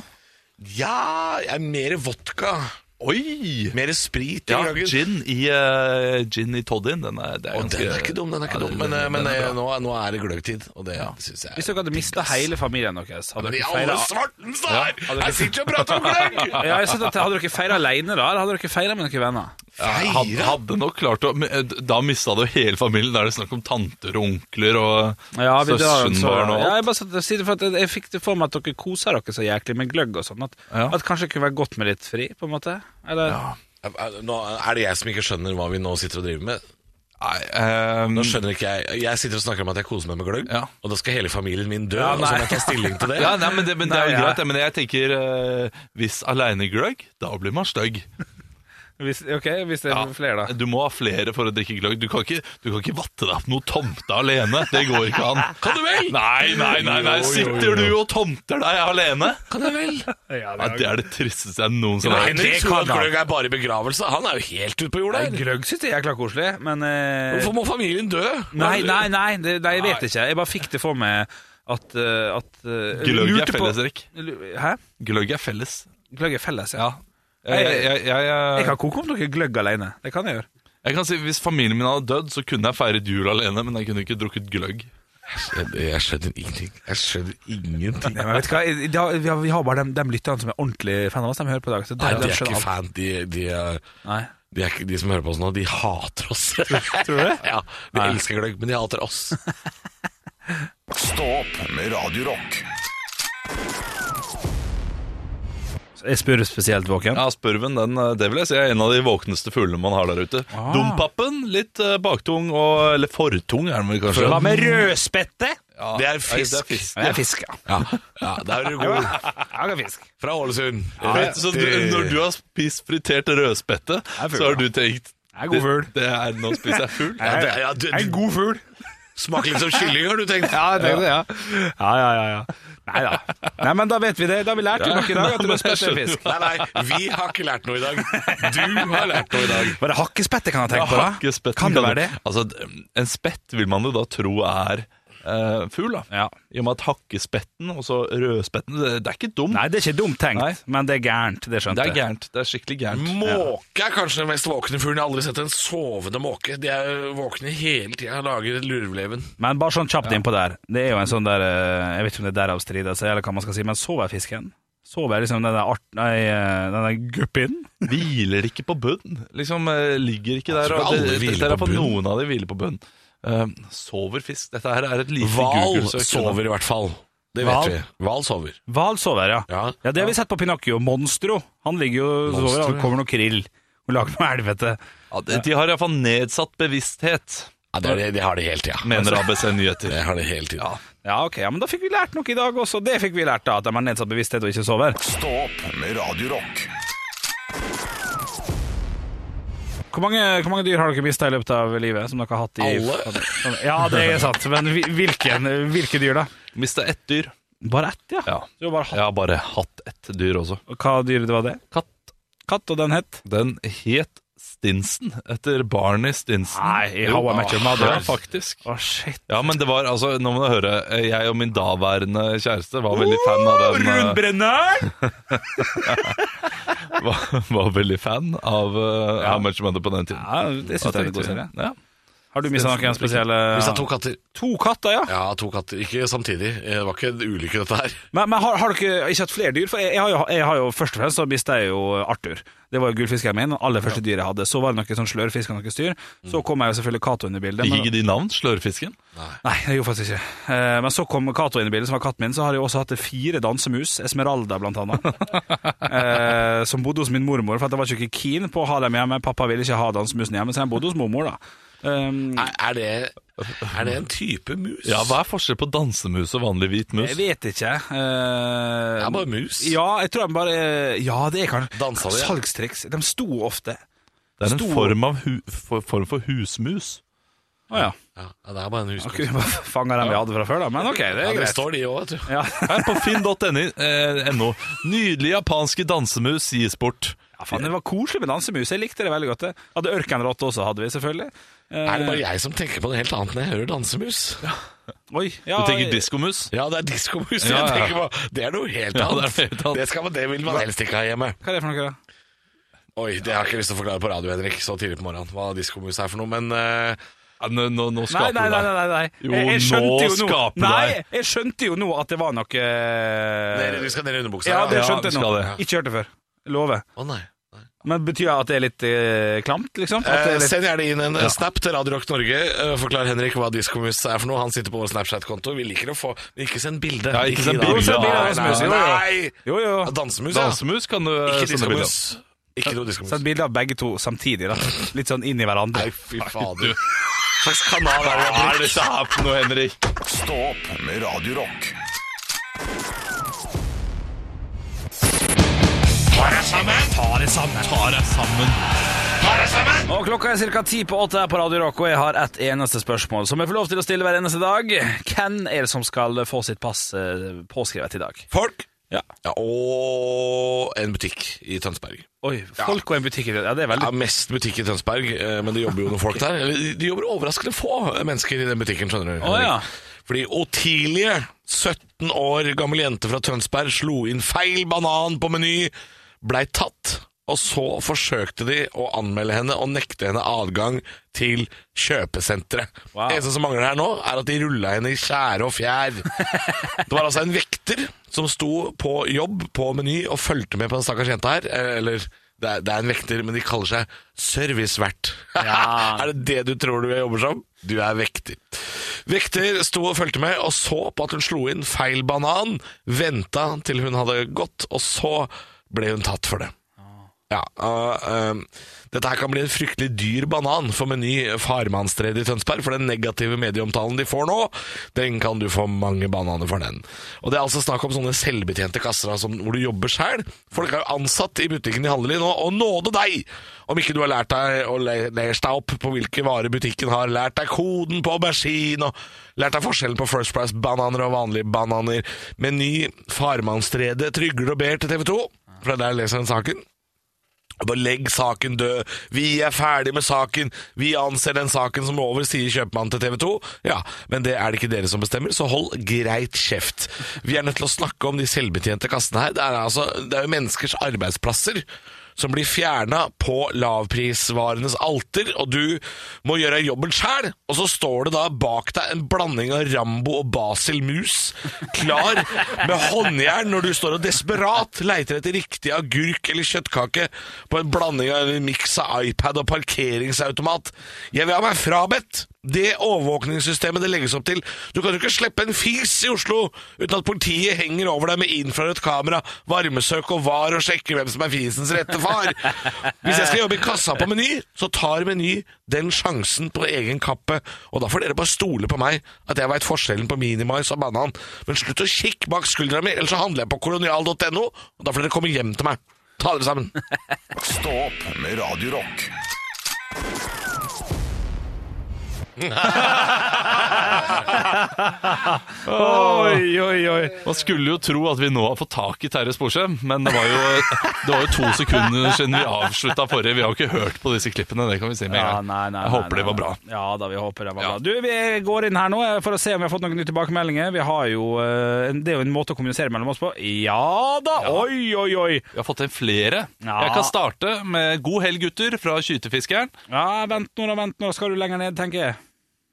[SPEAKER 4] Ja, jeg er mer vodka.
[SPEAKER 5] Oi!
[SPEAKER 4] Mer sprit i
[SPEAKER 5] Ja,
[SPEAKER 4] gløggen.
[SPEAKER 5] gin i, eh, gin i toddyen, den er, det er
[SPEAKER 4] Og den er ikke dum, den er ikke
[SPEAKER 5] Ja,
[SPEAKER 4] dum.
[SPEAKER 5] den-
[SPEAKER 4] Men, øh,
[SPEAKER 5] den-
[SPEAKER 4] men
[SPEAKER 5] den
[SPEAKER 4] øh,
[SPEAKER 5] er bra.
[SPEAKER 4] nå, nå er det gløggtid, og det syns jeg
[SPEAKER 3] Hvis dere hadde mista hele familien deres, hadde
[SPEAKER 4] Men i
[SPEAKER 3] dere
[SPEAKER 4] alle
[SPEAKER 3] feira
[SPEAKER 4] svartens
[SPEAKER 3] Ja,
[SPEAKER 4] dager!
[SPEAKER 3] hadde dere-
[SPEAKER 4] Jeg sitter og prater om gløgg!
[SPEAKER 3] ja, jeg synes at, Hadde dere feira aleine da, eller hadde dere feira med noen venner?
[SPEAKER 5] Hadde,
[SPEAKER 4] Feira!
[SPEAKER 5] hadde nok klart å men, eh, Da mista du hele familien. Da er det snakk om tanter og onkler og
[SPEAKER 3] Ja, vi drar altså- en så,
[SPEAKER 5] søskenbarn og
[SPEAKER 3] ja,
[SPEAKER 5] alt.
[SPEAKER 3] jeg, bare satt og sier det for at jeg, jeg fikk det for meg at dere koser dere så jæklig med gløgg og sånn. At,
[SPEAKER 5] Ja.
[SPEAKER 3] at kanskje det kunne være godt med litt fri, på en måte. Eller,
[SPEAKER 4] Nå er det jeg som ikke skjønner hva vi nå sitter og driver med.
[SPEAKER 5] Nei, ehm,
[SPEAKER 4] Nå skjønner ikke jeg Jeg sitter og snakker om at jeg koser meg med gløgg,
[SPEAKER 5] Ja.
[SPEAKER 4] og da skal hele familien min dø,
[SPEAKER 3] Ja,
[SPEAKER 4] og så må
[SPEAKER 3] nei.
[SPEAKER 4] jeg ta altså, stilling til det.
[SPEAKER 5] ja, nei, men det, men det er jo
[SPEAKER 3] Nei, ja.
[SPEAKER 5] greit, det, men jeg tenker eh, Hvis aleinegløgg, da blir man stygg.
[SPEAKER 3] hvis, ok, hvis det er flere, da.
[SPEAKER 5] Du må ha flere for å drikke gløgg. Du kan ikke, du kan ikke vatte deg opp noe tomte alene. Det går ikke an. Kan du vel? Nei, nei, nei. nei.
[SPEAKER 4] Jo, jo, jo.
[SPEAKER 5] Sitter du og tomter deg alene?
[SPEAKER 4] Kan jeg vel?
[SPEAKER 3] Ja,
[SPEAKER 5] Ja, det er det tristeste jeg noensinne
[SPEAKER 4] Nei,
[SPEAKER 5] har hørt.
[SPEAKER 4] Henrik
[SPEAKER 3] det
[SPEAKER 4] tror at
[SPEAKER 3] kan han.
[SPEAKER 4] gløgg er bare i begravelse. Han er jo helt ute på jorda. her.
[SPEAKER 3] Gløgg syns jeg er jækla koselig, men eh,
[SPEAKER 4] Hvorfor må familien dø?
[SPEAKER 3] Nei, nei, nei, det, nei, jeg vet ikke. Jeg bare fikk det for meg at, eh, at eh,
[SPEAKER 5] Gløgg
[SPEAKER 3] lurte
[SPEAKER 5] er
[SPEAKER 3] på-
[SPEAKER 5] felles, Erik.
[SPEAKER 3] Lu- Hæ?
[SPEAKER 5] Gløgg er felles.
[SPEAKER 3] Gløgg er felles, ja. Eh,
[SPEAKER 5] Ja. Jeg, jeg, jeg, jeg,
[SPEAKER 3] Jeg kan koke opp noe gløgg alene. Det kan jeg gjøre.
[SPEAKER 5] Jeg kan si, Hvis familien min hadde dødd, så kunne jeg feiret jul alene, men jeg kunne ikke drukket gløgg.
[SPEAKER 4] Jeg, jeg skjønner ingenting. Jeg skjønner ingenting.
[SPEAKER 3] Nei, men vet du hva, I- da- vi har- vi har bare de, de lytterne som er ordentlig fan av oss, de hører på i dag. Så de,
[SPEAKER 4] Nei,
[SPEAKER 3] de
[SPEAKER 4] de er
[SPEAKER 3] skjønner
[SPEAKER 4] ikke
[SPEAKER 3] alt.
[SPEAKER 4] fan. De, de, er-
[SPEAKER 3] Nei.
[SPEAKER 4] de, er ikke, de som hører på oss nå, de hater oss. Tror
[SPEAKER 3] du det?
[SPEAKER 4] Ja, De elsker gløgg, men de hater oss.
[SPEAKER 1] Stå opp med Radio Rock.
[SPEAKER 3] Så Jeg spør spesielt våken.
[SPEAKER 5] Ja, Spurven den, eh, det vil jeg si, er en av de våkneste fuglene man har der ute.
[SPEAKER 3] Ah.
[SPEAKER 5] Dompapen, litt eh, baktung, og, eller fortung er den vel kanskje.
[SPEAKER 3] Hva med rødspette?
[SPEAKER 5] Ja.
[SPEAKER 4] Det er
[SPEAKER 5] Nei,
[SPEAKER 4] fisk.
[SPEAKER 5] Det er fisk.
[SPEAKER 3] Jeg er fisk, ja.
[SPEAKER 4] Ja, ja Der er du god.
[SPEAKER 3] Jeg er fisk.
[SPEAKER 4] Fra Ålesund.
[SPEAKER 5] Vet du, så du, når du har spist fritert rødspette,
[SPEAKER 3] fugl,
[SPEAKER 5] så har du tenkt
[SPEAKER 3] Jeg er god fugl.
[SPEAKER 5] Det, det er, nå spiser jeg fugl.
[SPEAKER 4] ja, det, ja, du,
[SPEAKER 3] Jeg er en
[SPEAKER 4] du
[SPEAKER 3] god fugl.
[SPEAKER 4] smaker litt som kylling, har du tenkt.
[SPEAKER 3] Ja, det er det, ja. Ja, ja, ja. ja. Nei da. Nei, men da vet vi det. Da har vi lært jo noe i dag, at rødspette er fisk.
[SPEAKER 4] Nei, nei, vi har ikke lært noe i dag. Du har lært noe i dag.
[SPEAKER 3] Var det hakkespette kan jeg tenke på? da?
[SPEAKER 5] Hakkespetten
[SPEAKER 3] Kan det være det?
[SPEAKER 5] Altså, d- en spett vil man jo da tro er eh, fugl, da.
[SPEAKER 3] Ja.
[SPEAKER 5] I og med at hakkespetten og så rødspetten Det, det er ikke dumt.
[SPEAKER 3] Nei, det er ikke dumt tenkt,
[SPEAKER 5] Nei.
[SPEAKER 3] men det er gærent. Det skjønte
[SPEAKER 5] det er
[SPEAKER 3] jeg.
[SPEAKER 5] gærent. Det er skikkelig gærent.
[SPEAKER 4] Måke er kanskje den mest våkne fuglen. Jeg har aldri sett en sovende måke. De er jo våkne hele tida og lager lurveleven.
[SPEAKER 3] Men bare sånn kjapt innpå der. Det er jo en sånn der eh, Jeg vet ikke om det er derav strider seg, altså, eller hva man skal si, men sover fisken? Sover liksom den der art... Nei, eh, den der guppien?
[SPEAKER 5] Hviler ikke på bunn. Liksom eh, ligger ikke der
[SPEAKER 4] tror
[SPEAKER 5] og
[SPEAKER 4] alle
[SPEAKER 5] det,
[SPEAKER 4] hviler
[SPEAKER 5] dette er
[SPEAKER 4] på
[SPEAKER 5] på
[SPEAKER 4] bunn.
[SPEAKER 5] Noen av de hviler på bunn. Eh, sover fisk. Dette her er et lite
[SPEAKER 4] Hval
[SPEAKER 5] Google-søk.
[SPEAKER 4] sover i hvert fall. Det
[SPEAKER 3] Hval?
[SPEAKER 4] vet vi. Hval sover.
[SPEAKER 3] Hval sover, ja.
[SPEAKER 4] Ja.
[SPEAKER 3] Ja, det har vi sett på Pinocchio. Monstro. Han ligger jo og sover,
[SPEAKER 4] Monstro,
[SPEAKER 3] og det kommer noe krill. Og lager noe helvete.
[SPEAKER 5] Ja, de, de har iallfall nedsatt bevissthet,
[SPEAKER 4] Ja, det, er- de har det hele tida.
[SPEAKER 5] mener ABC Nyheter.
[SPEAKER 4] De har det hele tida.
[SPEAKER 3] Ja, ok, ja, men da fikk vi lært noe i dag også. Det fikk vi lært, da. At de har nedsatt bevissthet og ikke sover.
[SPEAKER 1] Stå opp med Radio Rock.
[SPEAKER 3] Hvor mange, hvor mange dyr har dere mista i løpet av livet? Som dere har hatt i
[SPEAKER 4] Alle?
[SPEAKER 3] Ja, det er sant. Men hvil- hvilken, hvilke dyr, da?
[SPEAKER 5] Mista ett dyr.
[SPEAKER 3] Bare ett, ja.
[SPEAKER 5] Ja.
[SPEAKER 3] Du har bare hatt
[SPEAKER 5] Jeg har bare hatt ett dyr også.
[SPEAKER 3] Hva dyr var det?
[SPEAKER 5] Katt.
[SPEAKER 3] Katt, og den het?
[SPEAKER 5] Den het Stinson, etter Barney Stinson.
[SPEAKER 3] Nei, i How I Met Your Mother.
[SPEAKER 5] Ja, faktisk.
[SPEAKER 3] Å, shit.
[SPEAKER 5] Ja, men det var, altså, nå må du høre, jeg og min daværende kjæreste var veldig fan av den. eh,
[SPEAKER 3] Rundbrenneren!
[SPEAKER 5] var, var veldig fan av uh, How Much Mother på den tiden.
[SPEAKER 3] Ja, det syns jeg er en god serie.
[SPEAKER 5] Ja.
[SPEAKER 3] Har du mista noen spesielle
[SPEAKER 4] Hvis det er to katter.
[SPEAKER 3] To katter, ja.
[SPEAKER 4] Ja, to katter. Ikke samtidig. Eh, Det var ikke en ulykke, dette her.
[SPEAKER 3] Men, men har, har dere ikke hatt flere dyr? For jeg, jeg, har jo, jeg har jo først og fremst så mista jeg jo Arthur. Det var jo gullfisken min, det aller første dyret jeg hadde. Så var det noe sånn slørfisk og noe styr. Så kom jeg jo selvfølgelig Cato inn i bildet.
[SPEAKER 5] Gikk
[SPEAKER 3] men-
[SPEAKER 5] ikke de navn, slørfisken?
[SPEAKER 3] Nei, det gjorde faktisk ikke. Eh, men så kom Cato inn i bildet, som var katten min. Så har jeg også hatt fire dansemus, Esmeralda blant annet, eh, som bodde hos min mormor. For at jeg var ikke keen på å ha dem hjemme. Pappa ville ikke ha dansemusen hjemme, så jeg bodde hos mormor, da. Um,
[SPEAKER 4] Er, er, det, er det en type mus?
[SPEAKER 5] Mm. Ja, hva er forskjell på dansemus og vanlig hvit mus?
[SPEAKER 3] jeg vet ikke. eh,
[SPEAKER 4] Det er bare mus.
[SPEAKER 3] Ja, jeg tror de bare eh, Ja, det er kanskje
[SPEAKER 4] Dansa de?
[SPEAKER 3] Salgstriks. De sto ofte.
[SPEAKER 5] Det er en
[SPEAKER 3] stor-
[SPEAKER 5] form, av hu for, form for husmus.
[SPEAKER 3] Å ja.
[SPEAKER 4] Ja, ja, det er bare en
[SPEAKER 3] Da kunne
[SPEAKER 4] huskunst.
[SPEAKER 3] vi bare fanga dem vi hadde fra før, da. Men ok, det
[SPEAKER 4] Ja,
[SPEAKER 3] er
[SPEAKER 4] det
[SPEAKER 3] greit.
[SPEAKER 4] står de òg, vet du.
[SPEAKER 3] Ja,
[SPEAKER 5] Her på finn.no. Eh, NO. Nydelige japanske dansemus gis bort.
[SPEAKER 3] ja faen, Det var koselig med dansemus. Jeg likte det veldig godt. det. Hadde ørkenrotte også, hadde vi selvfølgelig. Eh,
[SPEAKER 4] Er det bare jeg som tenker på noe helt annet når jeg hører dansemus?
[SPEAKER 3] Oi, ja,
[SPEAKER 5] Du tenker diskomus?
[SPEAKER 4] Ja, det er diskomus jeg
[SPEAKER 5] Ja, ja.
[SPEAKER 4] tenker på. Det er noe helt
[SPEAKER 5] Ja,
[SPEAKER 4] annet.
[SPEAKER 5] det er noe helt annet.
[SPEAKER 4] Det, skal man, det vil man helst ikke ha hjemme.
[SPEAKER 3] Hva er det for noe, da?
[SPEAKER 4] Oi, det har jeg ikke lyst til å forklare på radio, Henrik, så tidlig på morgenen. Hva diskomus er for noe, men eh,
[SPEAKER 5] Ja, Nå, nå, nå
[SPEAKER 3] Nei,
[SPEAKER 5] skaper
[SPEAKER 3] nei, nei. nei, nei.
[SPEAKER 5] Jo,
[SPEAKER 3] Jeg- jeg
[SPEAKER 5] nå
[SPEAKER 3] skjønte jo
[SPEAKER 5] skaper du
[SPEAKER 3] Nei,
[SPEAKER 5] deg.
[SPEAKER 3] jeg skjønte jo nå at det var noe eh,
[SPEAKER 4] dere, du skal ned i underbuksa?
[SPEAKER 3] Ja, det
[SPEAKER 5] Ja,
[SPEAKER 3] skjønte jeg nå.
[SPEAKER 5] skal
[SPEAKER 3] Ikke hørt det før. Lover.
[SPEAKER 4] Å nei. nei.
[SPEAKER 3] Men betyr det at det er litt eh, klamt, liksom? At det
[SPEAKER 4] Eh,
[SPEAKER 3] er litt...
[SPEAKER 4] send gjerne inn en eh, snap til Radio Rock Norge. Eh, forklar Henrik hva diskomus er for noe. Han sitter på vår Snapchat-konto. Vi liker å få Men Ikke send bilde.
[SPEAKER 5] Ja, ikke send
[SPEAKER 4] da.
[SPEAKER 5] bilde. Jo, send bilde
[SPEAKER 4] Nei, nei,
[SPEAKER 5] av
[SPEAKER 3] dansemus, jo, jo.
[SPEAKER 4] Nei!
[SPEAKER 3] Jo, jo.
[SPEAKER 4] Ja, Dansemus, ja.
[SPEAKER 5] Dansemus kan du eh,
[SPEAKER 4] Ikke
[SPEAKER 5] sende bilder av.
[SPEAKER 4] diskomus. Ikke noe diskomus.
[SPEAKER 3] Send bilde av begge to samtidig, da. Litt sånn inn i hverandre.
[SPEAKER 4] Nei, fy fader. Hva slags kanal er det?
[SPEAKER 5] Hva er
[SPEAKER 4] Henrik?
[SPEAKER 5] dette her for noe, Henrik?
[SPEAKER 1] Stå opp med Radio Rock.
[SPEAKER 3] Og klokka er ca. ti på åtte her på Radio Rock, og jeg har ett eneste spørsmål som jeg får lov til å stille hver eneste dag. Hvem er det som skal få sitt pass eh, påskrevet i dag?
[SPEAKER 4] Folk.
[SPEAKER 3] Ja.
[SPEAKER 4] Ja, og en butikk i Tønsberg.
[SPEAKER 3] Oi, folk og en butikk i det. Ja, det er
[SPEAKER 4] Det
[SPEAKER 3] veldig
[SPEAKER 4] er mest butikk i Tønsberg, eh, men det jobber jo noen folk der. Eller, de- De jobber overraskende få eh, mennesker i den butikken, skjønner du. Henrik.
[SPEAKER 3] Å, ja.
[SPEAKER 4] Fordi Otilie, 17 år gammel jente fra Tønsberg, slo inn feil banan på meny, blei tatt, og så forsøkte de å anmelde henne og nekte henne adgang til kjøpesenteret.
[SPEAKER 3] Wow.
[SPEAKER 4] Det eneste som mangler her nå, er at de rulla henne i skjære og fjær. Det var altså en vekter som sto på jobb på Meny og fulgte med på den stakkars jenta her. Eh, Eller det er, det er en vekter, men de kaller seg servicevert.
[SPEAKER 3] Ja.
[SPEAKER 4] er det det du tror du jobber som? Du er vekter. Vekter sto og fulgte med og så på at hun slo inn feil banan, venta til hun hadde gått, og så ble hun tatt for det. Ja, og, ehm, Dette her kan bli en fryktelig dyr banan for Meny Farmannstredet i Tønsberg, for den negative medieomtalen de får nå, den kan du få mange bananer for den. Og Det er altså snakk om sånne selvbetjente kasser altså, hvor du jobber sjøl. Folk er jo ansatt i butikken de handler i nå, og nåde deg om ikke du har lært deg å le- lese deg opp på hvilke varer butikken har, lært deg koden på aubergine, og lært deg forskjellen på First Price-bananer og vanlige bananer. Meny Farmannstredet trygler og ber til TV 2, for det er der jeg leser den saken. Og Bare legg saken død. Vi er ferdig med saken. Vi anser den saken som over, sier kjøpmannen til TV 2. Ja, men det er det ikke dere som bestemmer, så hold greit kjeft. Vi er nødt til å snakke om de selvbetjente kassene her. Det er, altså, det er jo menneskers arbeidsplasser som blir fjerna på lavprisvarenes alter, og du må gjøre jobben sjæl. Og så står det da bak deg en blanding av Rambo og Basil Mus, klar med håndjern når du står og desperat leiter etter riktig agurk eller kjøttkake på en blanding av en miks av iPad og parkeringsautomat. Jeg vil ha meg frabedt! Det overvåkningssystemet det legges opp til. Du kan jo ikke slippe en fis i Oslo uten at politiet henger over deg med infrarødt kamera, varmesøk og var og sjekker hvem som er fisens rette far. Hvis jeg skal jobbe i kassa på Meny, så tar Meny den sjansen på egen kappe. Og da får dere bare stole på meg, at jeg veit forskjellen på Minimais og banan. Men slutt å kikke bak skuldra mi, ellers så handler jeg på kolonial.no, og da får dere komme hjem til meg. Ta dere sammen.
[SPEAKER 1] Stå opp med Radio Rock.
[SPEAKER 3] Oi, oi, oi.
[SPEAKER 5] Man skulle jo tro at vi nå har fått tak i Terje Sporsem, men det var jo, det var jo to sekunder siden vi avslutta forrige. Vi har jo ikke hørt på disse klippene, det kan vi si med en
[SPEAKER 3] Ja,
[SPEAKER 5] gang.
[SPEAKER 3] nei, nei,
[SPEAKER 5] Jeg
[SPEAKER 3] nei,
[SPEAKER 5] håper
[SPEAKER 3] nei,
[SPEAKER 5] det var bra.
[SPEAKER 3] Ja da, vi håper det var
[SPEAKER 5] Ja.
[SPEAKER 3] bra. Du, Vi går inn her nå eh, for å se om vi har fått noen nye tilbakemeldinger. Vi har jo, eh, en- Det er jo en måte å kommunisere mellom oss på. Ja da! Oi, oi, oi!
[SPEAKER 5] Vi har fått inn flere.
[SPEAKER 3] Ja.
[SPEAKER 5] Jeg kan starte med 'God helg, gutter' fra Skytefiskeren.
[SPEAKER 3] Ja, Vent nå, da. vent nå, Skal du lenger ned, tenker jeg.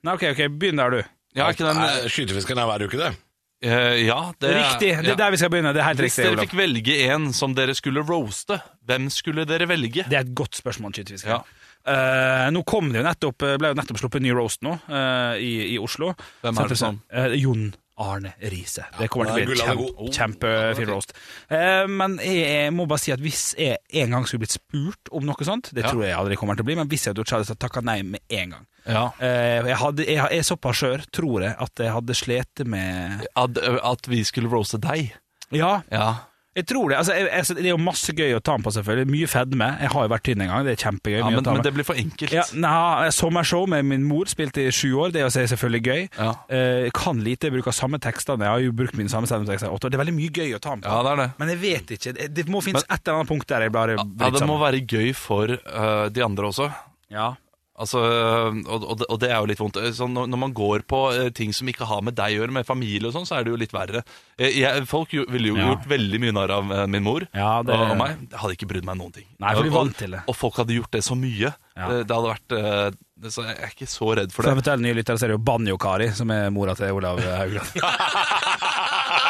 [SPEAKER 3] Nei, OK, ok, begynn der, du.
[SPEAKER 5] Ja, ikke den,
[SPEAKER 4] Nei, Skytefiskeren Eh, er hver uke, det.
[SPEAKER 5] eh, ja det er-
[SPEAKER 3] Riktig. Det
[SPEAKER 5] ja.
[SPEAKER 3] er der vi skal begynne. Det er helt
[SPEAKER 5] Hvis
[SPEAKER 3] riktig.
[SPEAKER 5] dere
[SPEAKER 3] Olav.
[SPEAKER 5] fikk velge en som dere skulle roaste, hvem skulle dere velge?
[SPEAKER 3] Det er et godt spørsmål, skytefisker.
[SPEAKER 5] Ja.
[SPEAKER 3] Eh, nå kom det jo nettopp, ble jo nettopp sluppet en ny roast nå eh, i, i Oslo.
[SPEAKER 5] Hvem er det som?
[SPEAKER 3] Eh, Jon Arne Riise. Det kommer til å
[SPEAKER 4] han er
[SPEAKER 3] bli en
[SPEAKER 4] gull, han er
[SPEAKER 3] kjempe,
[SPEAKER 4] god.
[SPEAKER 3] kjempefin roast. Eh, men jeg, jeg må bare si at hvis jeg en gang skulle blitt spurt om noe sånt, det
[SPEAKER 5] Ja.
[SPEAKER 3] tror jeg aldri kommer til å bli, men hvis jeg hadde gjort det, så hadde jeg takka nei med en gang.
[SPEAKER 5] Ja.
[SPEAKER 3] Eh, jeg, hadde, jeg, jeg er såpass skjør, tror jeg, at jeg hadde slet med
[SPEAKER 5] eh, At, at vi skulle roaste deg.
[SPEAKER 3] Ja,
[SPEAKER 5] Ja.
[SPEAKER 3] Jeg tror det. Altså, jeg, jeg, det er jo masse gøy å ta med på, selvfølgelig. Mye fedme. Jeg har jo vært tynn en gang, det er kjempegøy.
[SPEAKER 5] Ja,
[SPEAKER 3] mye
[SPEAKER 5] men,
[SPEAKER 3] å ta
[SPEAKER 5] men
[SPEAKER 3] med.
[SPEAKER 5] det blir for enkelt.
[SPEAKER 3] Ja, nei, sommershow med min mor spilte i sju år. Det er jo selvfølgelig gøy.
[SPEAKER 5] Ja.
[SPEAKER 3] Eh, kan lite, jeg bruker samme tekstene. Jeg har jo brukt mine samme tekster i åtte år. Det er veldig mye gøy å ta med. på.
[SPEAKER 5] Ja, det er det.
[SPEAKER 3] Men jeg vet ikke. Det, det må finnes et eller annet punkt der jeg bare
[SPEAKER 5] Ja, det må være gøy for øh, de andre også.
[SPEAKER 3] Ja.
[SPEAKER 5] Altså, øh, og, og, det- og det er jo litt vondt. Eh, Sånn, når, når man går på eh, ting som ikke har med deg å gjøre, med familie og sånn, så er det jo litt verre. Eh, Jeg, folk jo, ville jo
[SPEAKER 3] Ja.
[SPEAKER 5] gjort veldig mye narr av eh, min mor
[SPEAKER 3] Ja, det-
[SPEAKER 5] og, og meg. Jeg hadde ikke brydd meg noen ting.
[SPEAKER 3] Nei, for de
[SPEAKER 5] Og-
[SPEAKER 3] vant til det.
[SPEAKER 5] Og, og folk hadde gjort det så mye.
[SPEAKER 3] Ja.
[SPEAKER 5] Eh, Det hadde vært eh, Så jeg er ikke så redd for
[SPEAKER 3] For
[SPEAKER 5] det.
[SPEAKER 3] eventuelle nye lyttere så er det jo Banjo-Kari, som er mora til Olav Haugland.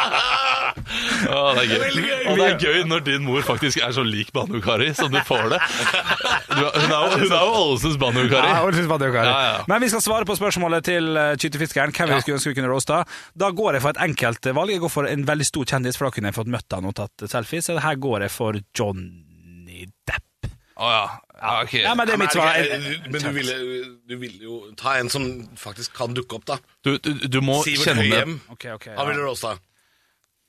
[SPEAKER 5] Ja, det er gøy. Og det er gøy når din mor faktisk er så lik Banu-Kari som du får det. Du, hun er jo hun er jo Ålesunds
[SPEAKER 3] Ja,
[SPEAKER 5] Banu-Kari.
[SPEAKER 3] Olav Banjo-Kari.
[SPEAKER 5] Ja, ja.
[SPEAKER 3] Men vi skal svare på spørsmålet til eh, Kytefiskeren. Hvem vi skulle ønske vi kunne roasta. Da går jeg for et enkelt eh, valg. Jeg går for en veldig stor kjendis, for da kunne jeg fått møtt han og tatt eh, selfies. Så her går jeg for Johnny Depp.
[SPEAKER 5] Å ja. ja ok.
[SPEAKER 3] Ja, men det er mitt
[SPEAKER 4] Men
[SPEAKER 3] svar.
[SPEAKER 4] er det ikke- Men du ville, du ville jo ta en som faktisk kan dukke opp, da.
[SPEAKER 5] Du, du, du, må
[SPEAKER 4] Sivert
[SPEAKER 5] kjenne,
[SPEAKER 4] Høyem.
[SPEAKER 3] Ok, ok, ja.
[SPEAKER 4] Han ville roasta.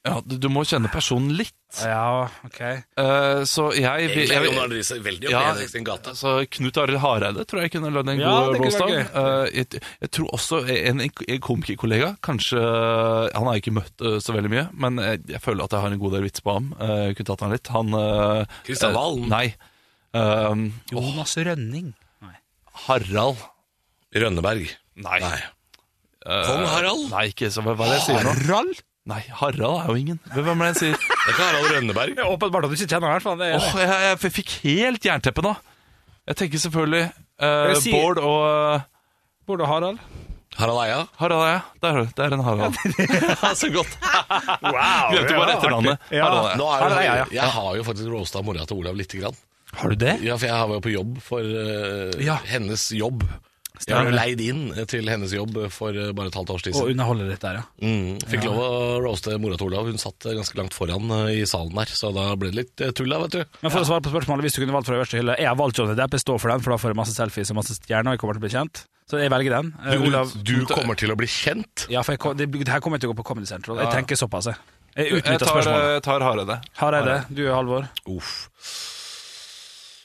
[SPEAKER 5] ja, du, du må kjenne personen litt.
[SPEAKER 3] Ja, ok.
[SPEAKER 5] Eh, så jeg, jeg,
[SPEAKER 4] Egentlig er
[SPEAKER 5] jeg,
[SPEAKER 4] Leonardo Riise veldig oppe
[SPEAKER 5] ja,
[SPEAKER 4] i Henriksen gate.
[SPEAKER 5] så Knut Arild Hareide tror jeg kunne lagd en
[SPEAKER 3] Ja,
[SPEAKER 5] god
[SPEAKER 3] det kunne
[SPEAKER 5] rollstang.
[SPEAKER 3] vært
[SPEAKER 5] jeg, jeg tror også en, en komikerkollega Kanskje Han har jeg ikke møtt eh, så veldig mye, men jeg, jeg føler at jeg har en god del vits på ham. Eh, jeg kunne tatt han litt. Han eh,
[SPEAKER 4] Kristian
[SPEAKER 5] eh,
[SPEAKER 4] Valen.
[SPEAKER 5] Nei. Um,
[SPEAKER 3] Jonas Rønning. Nei.
[SPEAKER 5] Harald.
[SPEAKER 4] Rønneberg.
[SPEAKER 5] Nei.
[SPEAKER 4] Nei.
[SPEAKER 5] Eh,
[SPEAKER 4] Kong Harald?
[SPEAKER 5] Nei, ikke så, hva, hva er det jeg sier nå?
[SPEAKER 3] Harald?
[SPEAKER 5] Nei, Harald er jo ingen. Hvem er det jeg sier?
[SPEAKER 4] Det er ikke Harald Rønneberg.
[SPEAKER 3] Det er åpenbart at du ikke kjenner han.
[SPEAKER 5] Åh, jeg, jeg fikk helt jernteppe nå. Jeg tenker selvfølgelig eh,
[SPEAKER 3] Jeg sier-
[SPEAKER 5] Bård og eh,
[SPEAKER 3] Bård og Harald.
[SPEAKER 4] Harald Eia.
[SPEAKER 5] Harald Eia. Der, har du- der er en Harald. så godt. Glemte bare etternavnet.
[SPEAKER 3] Ja.
[SPEAKER 5] Harald Eia.
[SPEAKER 4] Nå er
[SPEAKER 3] Harald
[SPEAKER 4] det,
[SPEAKER 3] Eia, ja.
[SPEAKER 4] Jeg har jo faktisk roasta mora til Olav lite grann.
[SPEAKER 3] Har du det?
[SPEAKER 4] Ja, for jeg var jo på jobb for eh,
[SPEAKER 3] Ja.
[SPEAKER 4] hennes jobb. Jeg
[SPEAKER 3] Stemmer.
[SPEAKER 4] ble jo leid inn til hennes jobb for eh, bare et halvt års tid
[SPEAKER 3] Å
[SPEAKER 4] siden.
[SPEAKER 3] underholde litt der, ja.
[SPEAKER 4] Mm, fikk lov å roaste mora til Olav. Hun satt eh, ganske langt foran eh, i salen der, så da ble det litt eh, tull da, vet du.
[SPEAKER 3] Men for å svare på spørsmålet, hvis du kunne valgt fra øverste hylle Jeg har valgt Johnny Depp, jeg står for den, for da får jeg masse selfies og masse stjerner, og jeg kommer til å bli kjent. Så jeg velger den. Eh, Olav-
[SPEAKER 4] Du, kommer til å bli kjent.
[SPEAKER 3] Ja, for jeg, kom- det, det her kommer jeg til å gå på Comedy Central. Jeg tenker såpass, jeg. Jeg
[SPEAKER 5] Jeg
[SPEAKER 3] utnytter
[SPEAKER 5] tar,
[SPEAKER 3] spørsmålet.
[SPEAKER 5] eh, tar Hareide.
[SPEAKER 3] Hareide, du er Halvor.
[SPEAKER 4] Uff.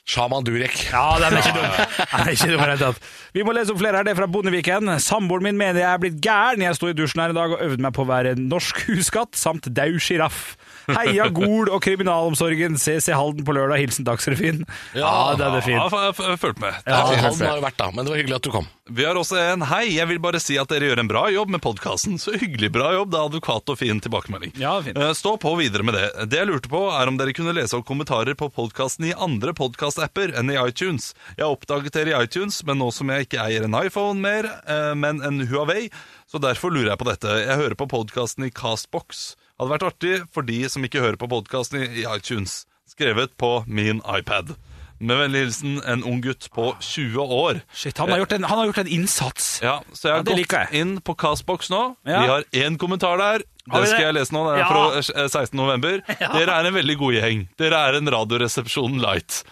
[SPEAKER 4] Shaman Durek.
[SPEAKER 3] Ja, den er ikke dum. Den er ikke dum i det hele tatt. Vi må lese opp flere her. Det er fra Bondeviken. Samboeren min mener jeg er blitt gæren. Jeg sto i dusjen her i dag og øvde meg på å være norsk huskatt samt dau sjiraff. Heia Gol og kriminalomsorgen. Ses i Halden på lørdag. Hilsen Dagsrevyen. Ja, den er fin.
[SPEAKER 5] Ja, f- f- Fulgt med.
[SPEAKER 3] Ja,
[SPEAKER 4] Ja,
[SPEAKER 3] det er
[SPEAKER 4] han
[SPEAKER 3] helt
[SPEAKER 4] har jo vært da, men det var hyggelig at du kom.
[SPEAKER 5] Vi har også en Hei, jeg vil bare si at dere gjør en bra jobb med podkasten. Så hyggelig bra jobb. Det er advokat og fin tilbakemelding.
[SPEAKER 3] Ja, fint.
[SPEAKER 5] Eh, Stå på videre med det. Det jeg lurte på, er om dere kunne lese opp kommentarer på podkasten i andre podkastapper enn i iTunes. Jeg oppdaget dere i iTunes, men nå som jeg ikke eier en iPhone mer, eh, men en Huawei, så derfor lurer jeg på dette. Jeg hører på podkasten i Castbox. Hadde vært artig for de som ikke hører på podkasten i i iTunes. Skrevet på min iPad. Med vennlig hilsen en ung gutt på 20 år.
[SPEAKER 3] Shit, han har gjort en, han har gjort en innsats.
[SPEAKER 5] Ja, så jeg
[SPEAKER 3] Ja,
[SPEAKER 5] har
[SPEAKER 3] det liker
[SPEAKER 5] gått
[SPEAKER 3] jeg.
[SPEAKER 5] inn på Castbox nå.
[SPEAKER 3] Ja.
[SPEAKER 5] Vi har én kommentar der.
[SPEAKER 3] Har vi
[SPEAKER 5] Det skal
[SPEAKER 3] det?
[SPEAKER 5] jeg lese nå. Det er
[SPEAKER 3] Ja.
[SPEAKER 5] fra eh, 16. november. Dere er en veldig god gjeng. Dere er en Radioresepsjon light.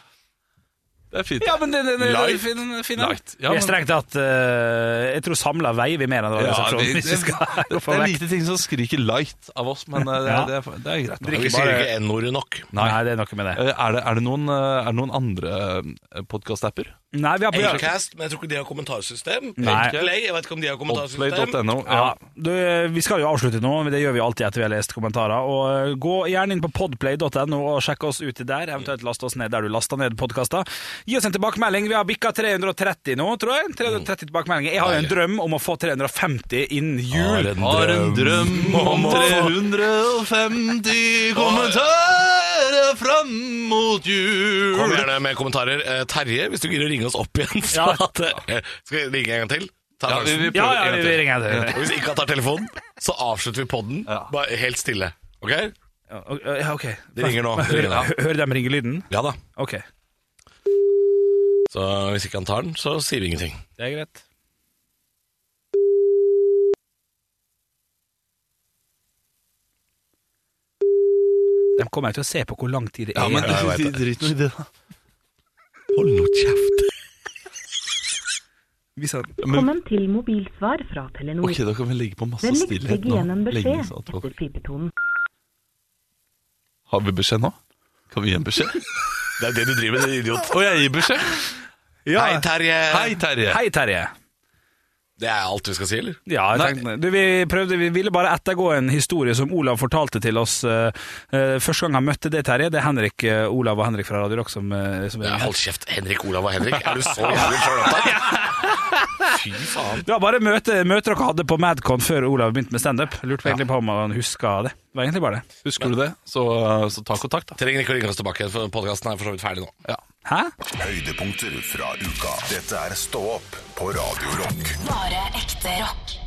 [SPEAKER 5] Det er fint.
[SPEAKER 3] Ja, men det, det, det,
[SPEAKER 5] Light.
[SPEAKER 3] fin, fin,
[SPEAKER 5] Light.
[SPEAKER 3] Vi
[SPEAKER 5] Ja, men-
[SPEAKER 3] er strengt tatt eh, Jeg tror samla veier vi mer enn det var
[SPEAKER 5] Ja,
[SPEAKER 3] resepsjonen.
[SPEAKER 5] vi-
[SPEAKER 3] hvis vi skal gå
[SPEAKER 5] det
[SPEAKER 3] for
[SPEAKER 5] er
[SPEAKER 3] vekk.
[SPEAKER 5] lite ting som skriker light av oss, men eh, det,
[SPEAKER 3] Ja.
[SPEAKER 5] er, det, er, det er greit. nå.
[SPEAKER 4] Vi sier
[SPEAKER 3] bare-
[SPEAKER 4] ikke N-ordet nok.
[SPEAKER 3] Nei. det er noe med det.
[SPEAKER 5] Eh, Er det, er det, noen, eh, er det noen andre eh, podcast-apper?
[SPEAKER 3] Nei, vi har på
[SPEAKER 4] Acast, men jeg tror ikke de har kommentarsystem.
[SPEAKER 3] Nei.
[SPEAKER 4] Play, jeg vet ikke om de har kommentarsystem.
[SPEAKER 5] Podplay.no. Ja.
[SPEAKER 3] Ja, du, eh, vi skal jo avslutte nå, men det gjør vi alltid etter vi har lest kommentarer. Og eh, Gå gjerne inn på podplay.no og sjekk oss ut der, eventuelt last oss ned der du lasta ned podkaster. Gi oss en tilbakemelding. Vi har bikka 330 nå, tror jeg. 330 tilbakemeldinger. Jeg har jo en drøm om å få 350 innen jul.
[SPEAKER 5] Har en drøm om 350 kommentarer fram mot jul.
[SPEAKER 4] Kom gjerne med kommentarer. Eh, Terje, hvis du gidder å ringe oss opp igjen
[SPEAKER 3] Ja.
[SPEAKER 4] så at, eh, Skal vi ringe en gang til? Ta
[SPEAKER 5] Ja, vi-
[SPEAKER 4] sjansen.
[SPEAKER 5] vi prøver
[SPEAKER 3] Ja, ja,
[SPEAKER 5] en
[SPEAKER 3] vi,
[SPEAKER 5] til.
[SPEAKER 3] vi ringer en
[SPEAKER 4] Og
[SPEAKER 3] til.
[SPEAKER 4] hvis ikke han tar telefonen, så avslutter vi podden
[SPEAKER 5] Ja.
[SPEAKER 4] bare helt stille. Ok?
[SPEAKER 3] Ja, ok, Ja, ok.
[SPEAKER 4] De ringer nå. De
[SPEAKER 3] Hører,
[SPEAKER 4] ringer nå.
[SPEAKER 3] hører dem ringe lyden?
[SPEAKER 4] Ja da.
[SPEAKER 3] Ok,
[SPEAKER 4] Så hvis ikke han tar den, så sier vi ingenting.
[SPEAKER 3] det er greit. De kommer jo til å se på hvor lang tid det er.
[SPEAKER 5] Ja, men
[SPEAKER 4] jeg vet det.
[SPEAKER 5] drit nå i det, da.
[SPEAKER 4] Hold nå kjeft.
[SPEAKER 3] Hvis han-
[SPEAKER 5] Men,
[SPEAKER 6] Velkommen til mobilsvar fra Telenor.
[SPEAKER 5] ok, da kan vi legge på masse
[SPEAKER 6] Vennligst
[SPEAKER 5] stillhet
[SPEAKER 6] legg igjen en
[SPEAKER 5] nå.
[SPEAKER 6] beskjed
[SPEAKER 5] Lenge så at
[SPEAKER 6] etter
[SPEAKER 5] folk
[SPEAKER 6] pipetonen.
[SPEAKER 5] Har vi beskjed nå? Kan vi gi en beskjed? Det er det du driver med, din idiot. Og jeg gir beskjed.
[SPEAKER 3] Ja.
[SPEAKER 4] Hei, Terje.
[SPEAKER 5] Hei, Terje.
[SPEAKER 3] Hei, Terje.
[SPEAKER 4] Det er alt vi skal si, eller?
[SPEAKER 3] Ja, jeg
[SPEAKER 5] Nei.
[SPEAKER 3] tenkte, du, vi, prøvde, vi ville bare ettergå en historie som Olav fortalte til oss eh, eh, første gang han møtte det, Terje. Det er Henrik, eh, Olav og Henrik fra Radio Rock som, eh, som
[SPEAKER 4] Ja, altså. hold kjeft. Henrik, Olav og Henrik. Er du så jævlig sjøl Fy faen.
[SPEAKER 3] Det var bare møte, møter dere hadde på Madcon før Olav begynte med standup. Jeg Lurte egentlig på om han huska det. Det var egentlig bare det.
[SPEAKER 5] Husker du det? Så, så ta kontakt, da.
[SPEAKER 4] Trenger ikke å ringe oss tilbake, for podkasten er for så vidt ferdig nå.
[SPEAKER 5] Ja.
[SPEAKER 3] Hæ?
[SPEAKER 1] Høydepunkter fra uka. Dette er Stå opp på Radio Rock.
[SPEAKER 2] Bare ekte rock.